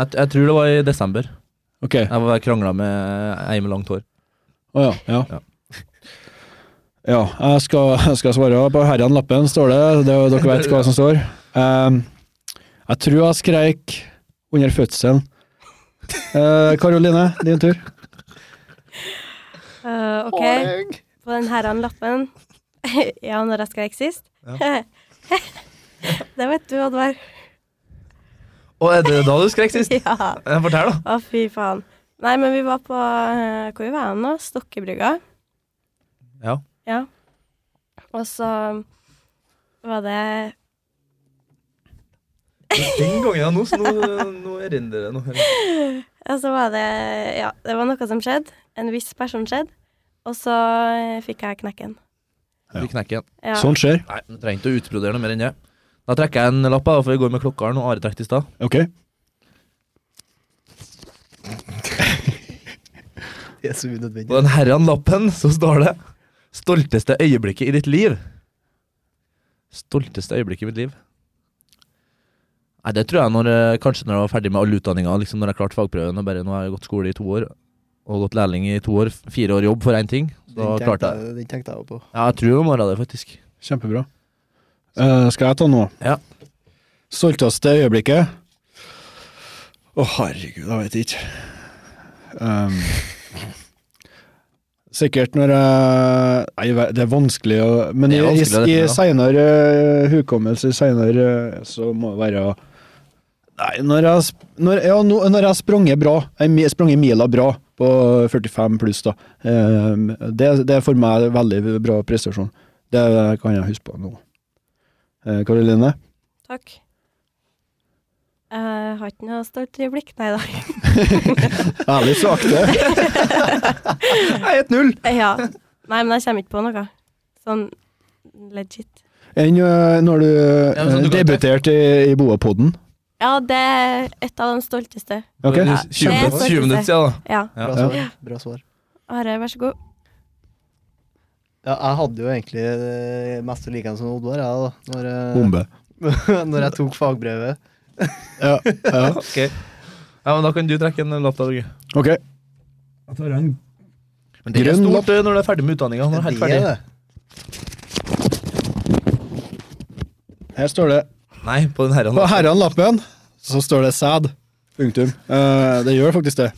S1: Jeg, jeg tror det var i desember.
S2: Ok.
S1: Jeg var krangla med ei med langt hår.
S2: Å ja. Ja. Ja, jeg skal, jeg skal svare. På herren lappen står det, det dere vet hva som står. Ehm, jeg tror jeg skreik under fødselen. Eh, Karoline, din tur.
S5: Eh, ok, på den herren lappen. ja, når jeg skrek sist. det vet du, Oddvar.
S1: Å, er det da du skrek sist?
S5: Ja.
S1: Eh, Fortell, da.
S5: Å, fy faen. Nei, men vi var på eh, Hvor vi var vi nå? Stokkebrygga.
S1: Ja.
S5: Ja. Og så var det
S1: Den gangen, ja. Nå, nå, nå erindrer jeg noe.
S5: Og så var det Ja, det var noe som skjedde. En viss person skjedde. Og så eh, fikk jeg knekken.
S1: Du knekker igjen.
S5: Ja.
S2: Sånt skjer.
S1: Nei, du trenger ikke å utbrodere noe mer enn det. Da trekker jeg en lapp, da, for vi går med klokka her nå. Are trekk i stad.
S2: Ok.
S3: Det er så unødvendig.
S1: På den herren lappen så står det 'Stolteste øyeblikket i ditt liv'. Stolteste øyeblikket i mitt liv. Nei, det tror jeg når, eh, kanskje når jeg var ferdig med all utdanninga, liksom når jeg klarte fagprøven og bare nå har jeg gått skole i to år og gått lærling i to år, f- fire år jobb for én ting. Så
S3: Den
S1: klarte
S3: tenkte
S1: jeg
S3: jeg- Den tenkte jeg jo på.
S1: Ja, jeg tror det var morgenen det, faktisk.
S2: Kjempebra. Eh, skal jeg ta nå?
S1: Ja.
S2: Stolteste øyeblikket? Å, herregud, jeg vet ikke. Um, sikkert når jeg Nei, jeg vet- det er vanskelig å Men
S1: Det er vanskelig å
S2: i, i, i
S1: definere.
S2: seinere hukommelse, seinere, så må det være Nei, når jeg, sp- når, ja, nå- når jeg har sprunget bra, jeg mi- sprunget mila bra på 45 pluss, da. Um, det, det er for meg veldig bra prestasjon. Det kan jeg huske på nå. Eh, Karoline?
S5: Takk. Jeg har ikke noe stolt øyeblikk, nei da.
S2: Ærlig sagt, eh, det.
S1: Nei, 1-0!
S5: ja. Nei, men jeg kommer ikke på noe. Sånn legit.
S2: Enn eh, når du,
S1: Ja, men så
S2: eh,
S1: du kan-
S2: debuterte i, i Boapodden.
S5: Ja, det er et av de stolteste.
S2: Ok?
S1: Det er
S5: Det
S1: 20
S5: er
S1: minutter- 20 minutter siden, da.
S5: Ja.
S1: Ja.
S3: Bra svar. Bra svar.
S5: Are, vær så god.
S3: Ja, jeg hadde jo egentlig eh, mest å like en som Oddvar, jeg, da. Når, eh,
S2: Bombe.
S3: når jeg tok fagbrevet.
S2: Ja. ja.
S1: Ok. Ja, men Da kan du trekke en lapp, da. Børge.
S2: Ok.
S1: Men det er
S2: Grønn
S1: stort eh, når du er ferdig med utdanninga. Når du er helt
S3: Det er
S1: ferdig.
S3: det.
S2: Her står det
S1: Nei, på den herren.
S2: På herrenlappen så står det 'sæd'. Punktum. Eh, det gjør faktisk det.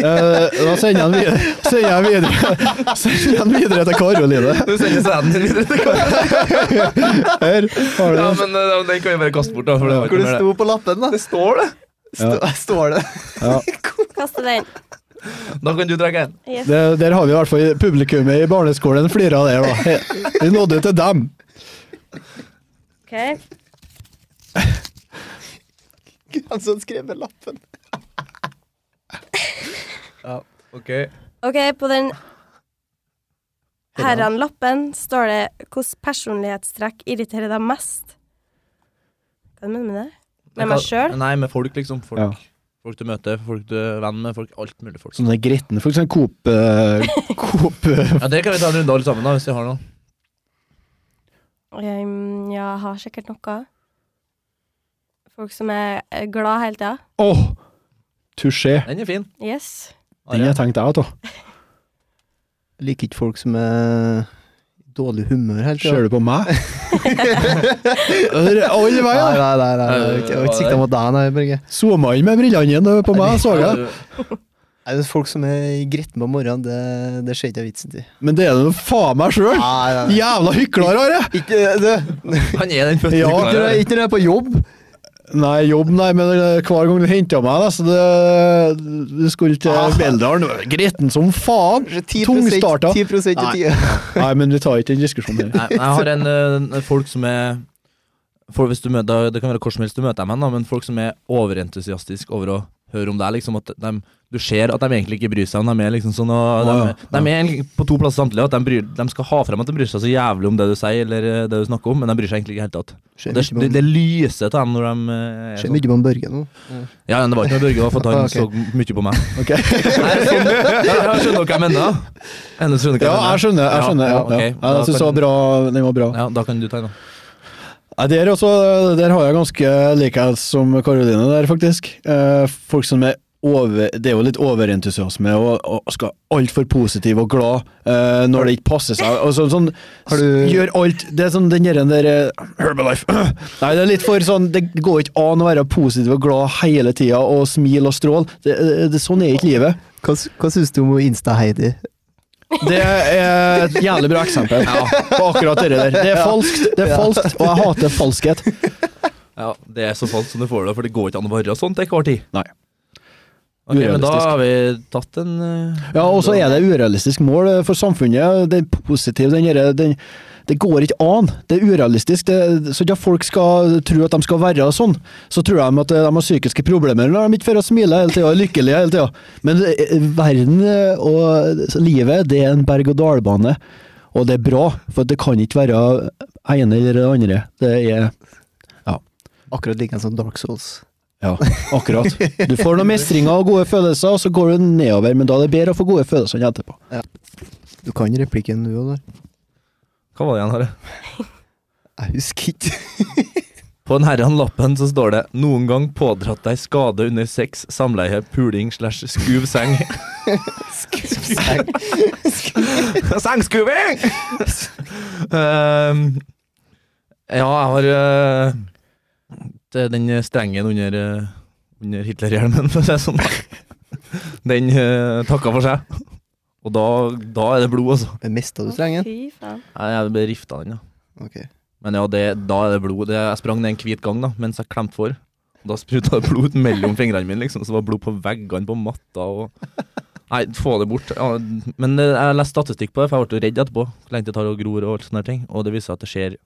S2: Eh, da sender jeg den videre, sender jeg den videre, sender jeg den videre til Karoline.
S1: Du sender sæden din videre til Kari.
S2: Her har du
S1: Ja,
S2: den.
S1: men eh, den kan vi bare kaste bort, da. For det var
S3: Hvor
S1: ikke
S3: det
S1: mer
S3: sto på lappen, da.
S1: det. det står det!
S3: Sto, Står det.
S2: Ja.
S5: Kaste den.
S1: Da kan du trekke en.
S5: Yes.
S2: Det, der har vi i hvert fall publikummet i barneskolen flira av det. da. Vi nådde til dem.
S5: OK.
S3: Han som skrev med lappen.
S1: Ok.
S5: OK, på den herrenlappen står det 'Hvilke personlighetstrekk irriterer deg mest'? Hva mener du med det? Med meg sjøl?
S1: Nei, med folk, liksom. Folk,
S2: Ja.
S1: folk du møter, folk du er venn med, folk, alt mulig folk.
S2: Sånne gretne, Sånn for eksempel Coop, eh, Coop eh,
S1: Ja, Det kan vi ta en runde alle sammen, da, hvis vi har noen.
S5: Um, ja, jeg har sikkert noe. Folk som er eh, glad hele tida.
S2: Åh, Touché.
S1: Den er fin.
S5: Yes.
S2: Den har jeg tenkt jeg, da.
S3: Liker ikke folk som er i dårlig humør hele tida.
S2: Ser du på meg? Alle
S3: Nei,
S2: veier!
S3: nei, nei, nei, jeg var ikke sikta mot deg, nei, Børge.
S2: Zooma inn med brillene igjen eh, på meg, så jeg.
S3: Nei, men folk som er gretne på morgenen, det, det ser ikke jeg vitsen til.
S2: Men det er nå faen meg sjøl!
S3: Nei, nei, nei.
S2: Jævla hykler har jeg!
S3: Ikke, det,
S1: Han er den fødte
S2: Ja,
S3: ikke, når jeg, ikke når jeg er på jobb.
S2: Nei, jobb, nei, men eh, hver gang du henter meg, da, så det Du skulle til
S3: Ah.
S2: Beldalen. Gretten som faen! Tungstarta.
S3: 10 i
S2: Nei.
S3: tida.
S2: Nei, men vi tar ikke den diskusjonen her.
S1: Nei, Jeg har en, eh, folk som er folk, hvis du møter, Det kan være hvor som helst du møter dem, hen, da, men folk som er overentusiastiske over å høre om deg. Liksom, at dem- du ser at de egentlig ikke bryr seg. men De er liksom sånn og de,
S2: Å, ja.
S1: de er egentlig på to plasser samtidig. At de, bryr, de skal ha frem at de bryr seg så jævlig om det du sier eller eh, det du snakker om, men de bryr seg egentlig ikke i det hele tatt.
S3: Ser
S1: Det, det, det lyser til dem når de eh, er
S3: Ser
S1: sånn.
S3: mye på en Børge nå.
S1: Ja, men det var ikke noe Børge, det var for at han
S3: Ok.
S1: så mye på meg.
S2: Ok.
S1: Nei, jeg skjønner- jeg skjønner hva jeg mener. da. Jeg
S2: Ja,
S1: skjønner hva
S2: jeg
S1: jeg mener.
S2: skjønner. jeg
S1: Ja,
S2: skjønner. Ja,
S1: ja, ok.
S2: ja. Ja, jeg syns det var bra. Den var bra.
S1: Ja, da kan du ta en, da.
S2: Nei, der, også, der har jeg ganske likhet som Karoline der, faktisk. Eh, folk som er over, det er jo litt overentusiasme og, og skal altfor positiv og glad eh, når det ikke passer seg. Og så, sånn,
S3: Har du-
S2: Gjør alt Det er sånn den der, den der eh, Herbalife. Nei, det er litt for sånn Det går ikke an å være positiv og glad hele tida og smile og stråle. Det, det, sånn er ikke livet.
S3: Hva, s- hva syns du om hun Insta-Heidi?
S2: Det er et jævlig bra eksempel på akkurat det der. Det er falskt, det er falskt og jeg hater falskhet.
S1: Ja, Det er så falskt som du får det, for det går ikke an å være sånn til enhver tid.
S2: Nei.
S1: Ok, men da
S2: Urealistisk.
S1: har vi tatt en eh,
S2: Ja, og så er det urealistisk mål eh, for samfunnet. Det er positivt. Den derre- den, det går ikke an. Det er urealistisk. Det, så ikke at folk skal tro at de skal være sånn, så tror de at eh, de har psykiske problemer når de ikke får smile hele tida, er lykkelige hele tida. Men eh, verden eh, og livet, det er en berg-og-dal-bane. Og det er bra, for det kan ikke være ene eller det andre. Det er
S3: Akkurat like som Dark Souls.
S2: ja, akkurat. Du får noen mestringer og gode følelser, og så går du nedover, men da er det bedre å få gode følelser enn etterpå.
S3: Du kan replikken du òg, da.
S1: Hva var det igjen, Are?
S3: Jeg husker ikke.
S1: På den herren lappen så står det 'Noen gang pådratt deg skade under sex, samleie, puling slash skuv seng'. Sengskuving! Ehm, ja, jeg har eh, det er den strengen under, eh, under Hitlerhjelmen, for å si det sånn. Den uh, takka for seg. Og da, da er det blod, altså.
S3: Mista du
S5: Å,
S3: strengen?
S5: Fy faen.
S1: Nei, Jeg ble rifta den, ja.
S3: Ok.
S1: Men ja, det, da er det blod. Det, jeg sprang ned en hvit gang da, mens jeg klemte for. Da spruta det blod ut mellom fingrene mine, liksom. Så det var blod på veggene, på matta og Nei, få det bort. Ja, men eh, jeg leste statistikk på det, for jeg ble jo redd etterpå. Hvor lenge det tar og gror og alt sånne her ting. Og det viser seg at det skjer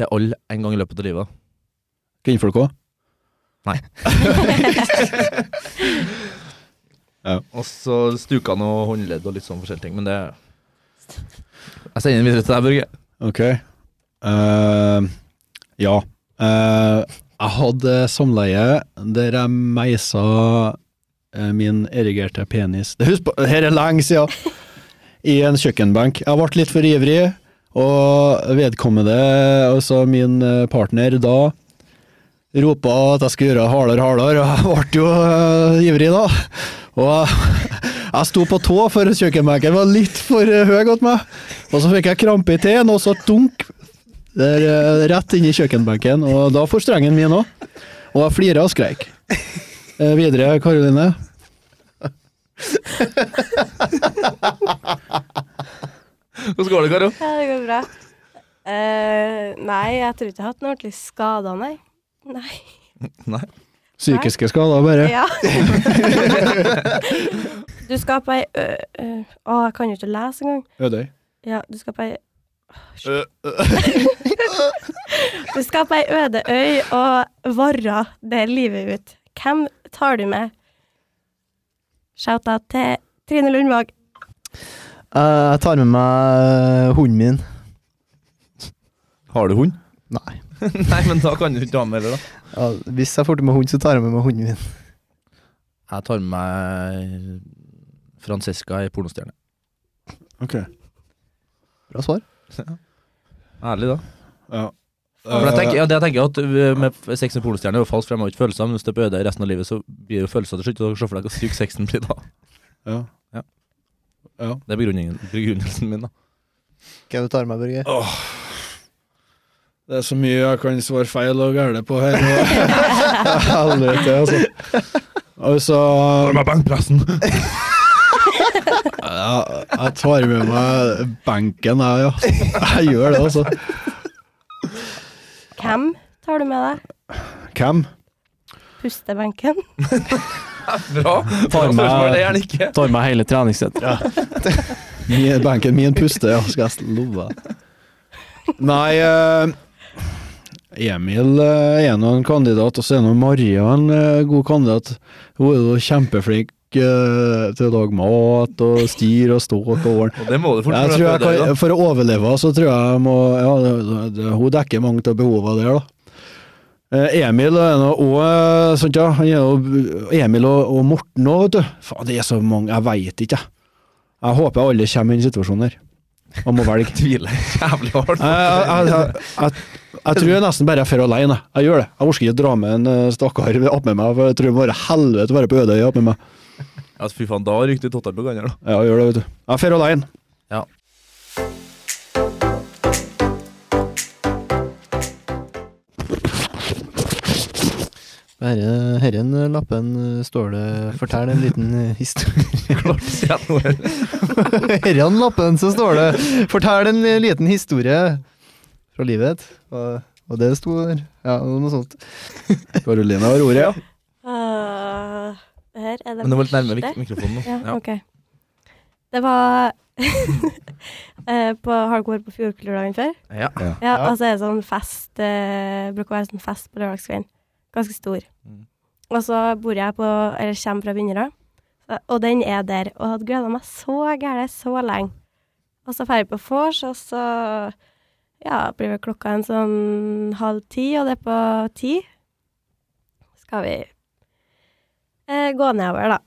S1: til alle en gang i løpet av livet.
S2: Kvinnfolk òg?
S1: Og så stukene og håndledd og litt sånn forskjellige ting. Men det Jeg sender den videre til deg, Børge.
S2: Ok. Eh, ja. Eh, jeg hadde samleie der jeg meisa eh, min erigerte penis Det Husk på, her er lenge siden! I en kjøkkenbenk. Jeg ble litt for ivrig, og vedkommende, altså min eh, partner da, ropa at jeg skulle gjøre hardere, hardere, og jeg ble jo eh, ivrig da. Og jeg, jeg sto på tå, for kjøkkenbenken var litt for eh, høy til meg. Og så fikk jeg krampe i teen, og så dunk der, eh, rett inn i kjøkkenbenken. Og da får strengen min òg. Og jeg flira og skreik. Eh, videre, Karoline.
S1: Hvordan går det, Karo?
S5: Ja, det går bra. Eh, nei, jeg tror ikke jeg har hatt noen ordentlig skader, nei. Nei.
S1: Nei.
S2: Psykiske skader, bare.
S5: Ja. du skal på ei ø, ø, Å, jeg kan jo ikke lese engang.
S2: Ødøy.
S5: Ja, du skal på ei Du skal på ei øde øy og varre det livet ut. Hvem tar du med? Shout-out til Trine Lundvåg.
S3: Eh, Jeg tar med meg hunden min.
S1: Har du hund?
S3: Nei.
S1: Nei, men da kan du ikke ha med heller, da.
S3: Ja, hvis jeg får til meg hund, så tar jeg med meg hunden min.
S1: Jeg tar med meg Francesca i pornostjerne.
S2: Ok.
S3: Bra svar.
S1: Ærlig, da. Eh,
S2: Ja.
S1: For jeg tenker, ja, det jeg tenker at øh, med f- sex med pornostjerne er jo falskt, for de har jo ikke følelser. Men hvis du er på øde resten av livet, så blir det jo følelser til slutt. Og se for deg hvor syk sexen blir da.
S2: Eh, Ja.
S1: Ja.
S2: Ja.
S1: Det er begrunnelsen, begrunnelsen min, da.
S3: Hva du tar med, Børge?
S2: Det er så mye jeg kan svare feil og gærent på her. nå. Helvete, altså. Altså
S1: benkpressen!
S2: jeg, jeg tar med meg benken, jeg, ja. Jeg gjør det, altså.
S5: Hvem tar du med deg?
S2: Hvem?
S5: Pustebenken?
S1: Bra! Bra spørsmål, det er gjerne ikke.
S3: Tar med hele treningssettet.
S2: Min, benken min puster, ja, skal jeg love deg. Nei eh, Emil eh, er nå en kandidat, og så er nå Maria en eh, god kandidat. Hun er jo kjempeflink eh, til å lage mat og styre og stå og ordne.
S1: Og det må du fort
S2: Jeg
S1: for
S2: tror jeg
S1: at det er det, da.
S2: kan, for å overleve så tror jeg jeg må ja, det- det- Hun dekker mange av behovene der, da. Eh, Emil er nå òg eh, sånt, ja. Han er jo, Emil og, og Morten òg, vet du. Faen, det er så mange, jeg veit ikke, jeg. Jeg håper alle kommer i den situasjonen her, og må velge.
S1: Tviler jævlig hardt.
S2: Jeg, jeg, jeg, jeg, jeg tror jeg nesten bare jeg drar alene. Jeg gjør det. Jeg orker ikke dra med en eh, stakkar attmed meg, for jeg tror bare helvete være på Ødøy attmed meg.
S1: Altså, fy faen, da rykte Tottenham på gangen, da.
S2: Ja, jeg gjør det, vet du. Jeg drar alene.
S1: Ja.
S3: Herre, herren lappen eh, står det Fortell en liten eh, historie.
S1: Klart å si at noe her.
S3: herren lappen, så står det Fortell en eh, liten historie fra livet. Og, og det sto der. Ja, og noe sånt.
S2: Karoline har ordet.
S5: Uh, her er det
S1: Men du må litt nærmere
S5: verste.
S1: mik mikrofonen nå.
S5: Ja,
S1: Ja.
S5: ok. Det var eh, på Hardcore på Fjordkulturdagen før.
S1: Ja.
S5: Ja,
S3: Ja.
S5: altså er det sånn fest, eh, bruker å være sånn fest på lørdagskvelden. Ganske stor.
S1: Mm.
S5: Og så bor jeg på, eller kommer fra Vinnerød, så- og den er der. Og jeg hadde gleda meg så gære så lenge. Og så drar jeg på vors, og så ja, blir vel klokka en sånn halv ti, og det er på ti. Skal vi eh, gå nedover, da.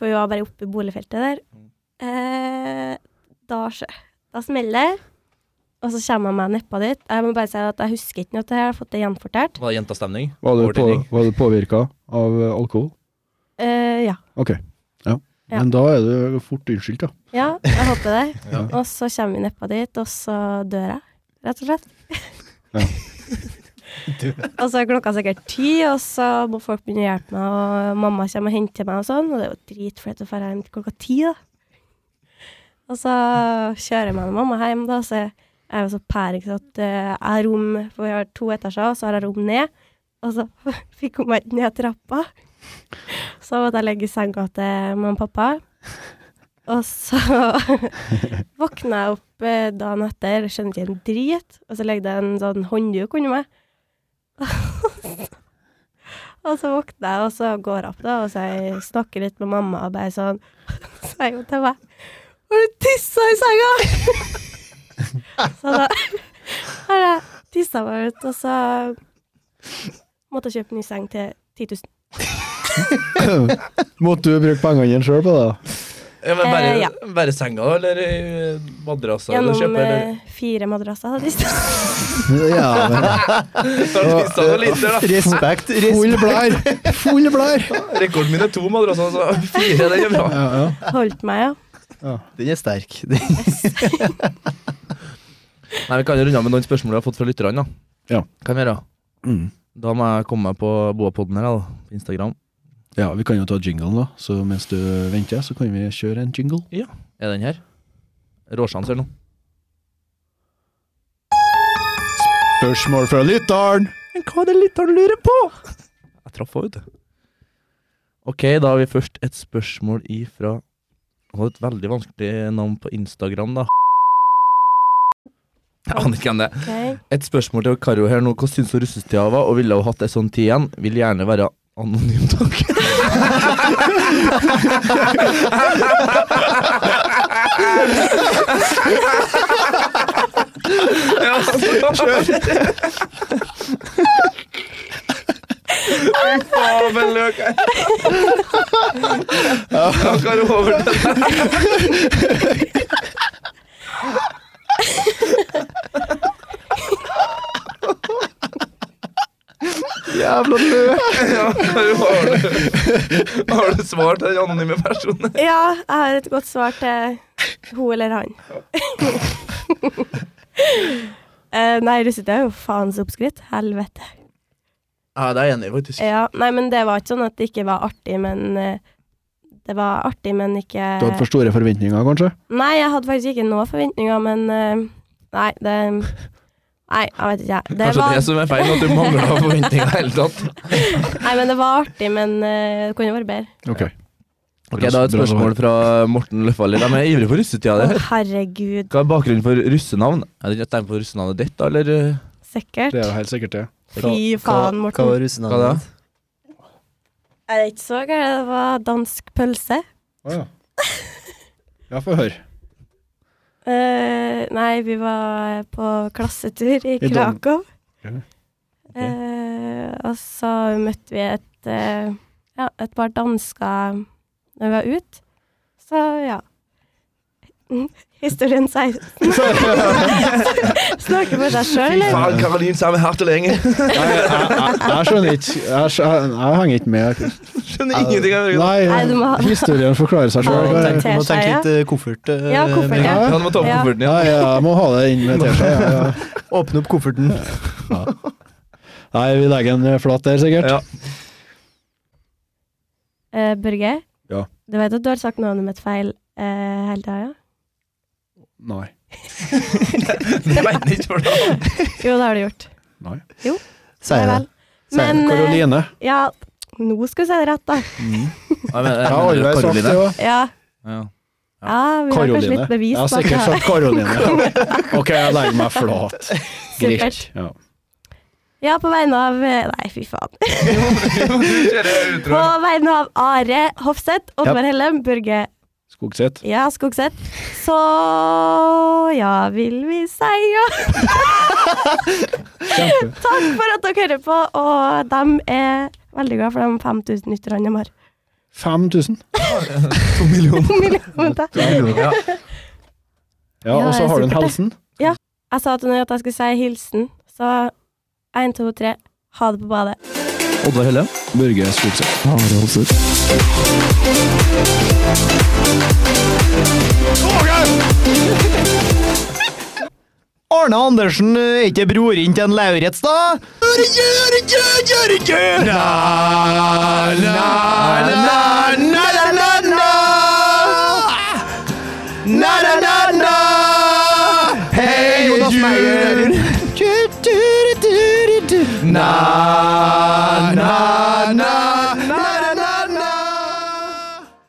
S5: For vi var bare oppe i boligfeltet der. Eh, da skjer Da smeller det. Og så kommer jeg meg nedpå dit. Jeg må bare si at jeg husker ikke noe til det her, jeg har fått det gjenfortalt.
S1: Var det jentastemning?
S2: Var du, på,
S1: Overtenning.
S2: var du påvirka av eh, alkohol?
S5: Eh, ja.
S2: Ok, ja.
S5: Ja.
S2: Men da er du fort unnskyldt, ja.
S5: ja, jeg håper det.
S2: Ja.
S5: Og så kommer vi nedpå dit, og så dør jeg, rett og slett.
S2: Ja.
S5: og så er klokka sikkert ti, og så må folk begynne å hjelpe meg, og mamma kommer og henter meg og sånn, og det er jo dritflaut å dra hjem klokka ti, da. Og så kjører jeg med mamma hjem, da, så jeg er jo så pæring så at eh, jeg har rom, for vi har to etasjer, og så har jeg rom ned, og så fikk hun meg ikke ned trappa. Så måtte jeg legge i senga til mamma og pappa. Og så våkna jeg opp eh, dagen etter, skjønte ikke en drit, og så legde jeg en sånn håndduk under meg. og så våkner jeg, og så går jeg opp, da, og så jeg snakker litt med mamma, og bare sånn Så sier hun til meg Har du tissa i senga?! så da har jeg tissa meg ut, og så måtte jeg kjøpe ny seng til 10 000.
S2: Måtte du bruke pengene dine sjøl på det? da?
S1: Ja, men bare,
S5: Eh, ja.
S1: bare senga, eller eh, madrasser? Eller
S5: Gjennom
S1: kjøpe, eller?
S5: eh, fire madrasser. hadde jeg tissa.
S2: Ja, men
S1: Artister og liter, da.
S3: Respekt!
S2: Full
S3: respekt.
S2: blær! Full blær!
S1: Rekorden min er to madrasser, så fire det er bra.
S2: Ja, ja.
S5: Holdt meg, ja.
S3: Den er sterk. Den-
S1: Nei, Vi kan jo runde av med noen spørsmål vi har fått fra lytterne. da.
S2: Ja.
S1: Kan vi gjøre?
S2: Mm.
S1: Da må jeg komme meg på Boapodden her, da. På Instagram.
S2: ja, vi kan jo ta jinglen, da. Så mens du venter, så kan vi kjøre en jingle.
S1: Er den her? Råsjans eller noe?
S2: Spørsmål fra lytteren!
S1: Men hva er det lytteren lurer på? Jeg traff henne, vet du. Ok, da har vi først et spørsmål ifra Hun har et veldig vanskelig navn på Instagram, da. Jeg aner ikke hvem det er.
S5: ok.
S1: Et spørsmål til Karo her nå. Hva syns hun russestida var, og ville hun hatt ei sånn tid igjen? Vil gjerne være anonym, takk. Ja, altså. Fy faen, men løk jeg. Ja, Karo, over til deg.
S6: jævla løk!
S1: Ja, har, du, har du svar til den anonyme personen?
S5: Ja, jeg har et godt svar til hun eller han. Eh, nei, russetida er jo faens oppskritt. Helvete.
S1: Ja, det er jeg enig i, faktisk.
S5: Ja, nei, men det var ikke sånn at det ikke var artig, men eh, Det var artig, men ikke
S2: Du hadde for store forventninger, kanskje?
S5: Nei, jeg hadde faktisk ikke noen forventninger, men eh, Nei, det Nei, jeg vet ikke, jeg. Det
S1: Kanskje
S5: var,
S1: det som er feil, at du mangler forventninger i det hele tatt.
S5: Nei, men det var artig, men eh, det kunne vært bedre.
S2: Ok.
S1: Ok, Da et spørsmål fra Morten Løfaldli. De er ivrige for russetida.
S5: Å,
S1: det her.
S5: herregud.
S1: Hva er bakgrunnen for russenavn? Er det et tegn på russenavnet ditt, da, eller? eh?
S5: Sikkert.
S2: Det er jo helt sikkert det.
S5: Fy faen,
S3: Hva var
S5: Morten.
S1: Hva da?
S3: russenavnet ditt?
S5: Jeg er ikke så gæren. Det var dansk pølse.
S2: Å ja. Ja, få høre.
S5: Eh, nei, vi var på klassetur i
S2: Dan-
S5: Krakow.
S2: Ja.
S5: Eh, og så møtte vi et, eh, ja, et par dansker når vi var ute. Så ja. Mm, Historien 16. Snakker for seg sjøl, eller?
S1: Faen, Karoline, så har vi hatt det lenge.
S2: Nei, jeg, jeg, jeg skjønner ikke Jeg, skjønner, jeg henger ikke med.
S1: Skjønner ingenting av det.
S5: Nei, du
S2: Nei,
S5: må-
S2: historien forklarer seg
S3: Du
S5: Ja,
S2: sjøl.
S3: må
S5: det
S3: tenke- du må
S5: T-skjorte,
S3: tenke
S5: ja.
S3: litt eh, koffert. eh,
S5: Ja, koffert,
S3: med en gang.
S5: ja.
S1: Ja, du må ta opp
S5: Ja.
S1: kofferten,
S2: Ja,
S1: ja.
S2: ja, jeg må ha det inn med teskje. Ja, ja.
S3: Åpne opp kofferten.
S2: Nei, vi legger en flat der, sikkert.
S1: Ja.
S5: Eh, Børge,
S2: Ja.
S5: du vet at du har sagt navnet mitt feil eh, hele tida? Ja?
S2: Nei.
S1: Jeg vet ikke for det.
S5: Jo, det har du gjort.
S3: Sier
S5: Nei
S3: det.
S5: vel. Men eh,
S2: Karoline.
S5: ja, nå skal vi si det rett, da.
S1: Mm. Ja, men, eh,
S2: Jeg har aldri sagt det. ja.
S5: Ja.
S1: Ja.
S5: Ja, vi har kanskje
S2: Karoline.
S5: litt bevis
S2: Jeg har
S5: bak
S2: sikkert
S5: her.
S2: sagt Karoline. Ok, jeg legger meg flat. Greit.
S5: Supert.
S2: Ja.
S5: Ja, på vegne av eh, Nei, fy faen.
S1: Kjører
S5: På
S1: utro.
S5: vegne av Are Hofseth, Oddvar Hellem, Børge
S2: Skogseth.
S5: Ja, Skogseth. Så ja, vil vi si ja.
S2: Kjempe.
S5: Takk for at dere hører på, og de er veldig glad for de 5000 lytterne de har.
S2: 5000.
S3: To millioner.
S5: Vent da.
S1: Ja.
S2: Ja,
S5: Ja,
S2: og så
S5: jeg
S2: har du en
S5: supert, det.
S2: helsen.
S5: Jeg sa til henne at jeg skulle si hilsen, så én, to, tre. Ha det på badet.
S1: Oddvar Helle.
S2: Børge Skogseth.
S3: Arne Andersen eh, er ikke broren til en Lauritz, da? Na, na, na, na, na, na, na. Na, na, na, na. Hei, Jonas Meyer. Na,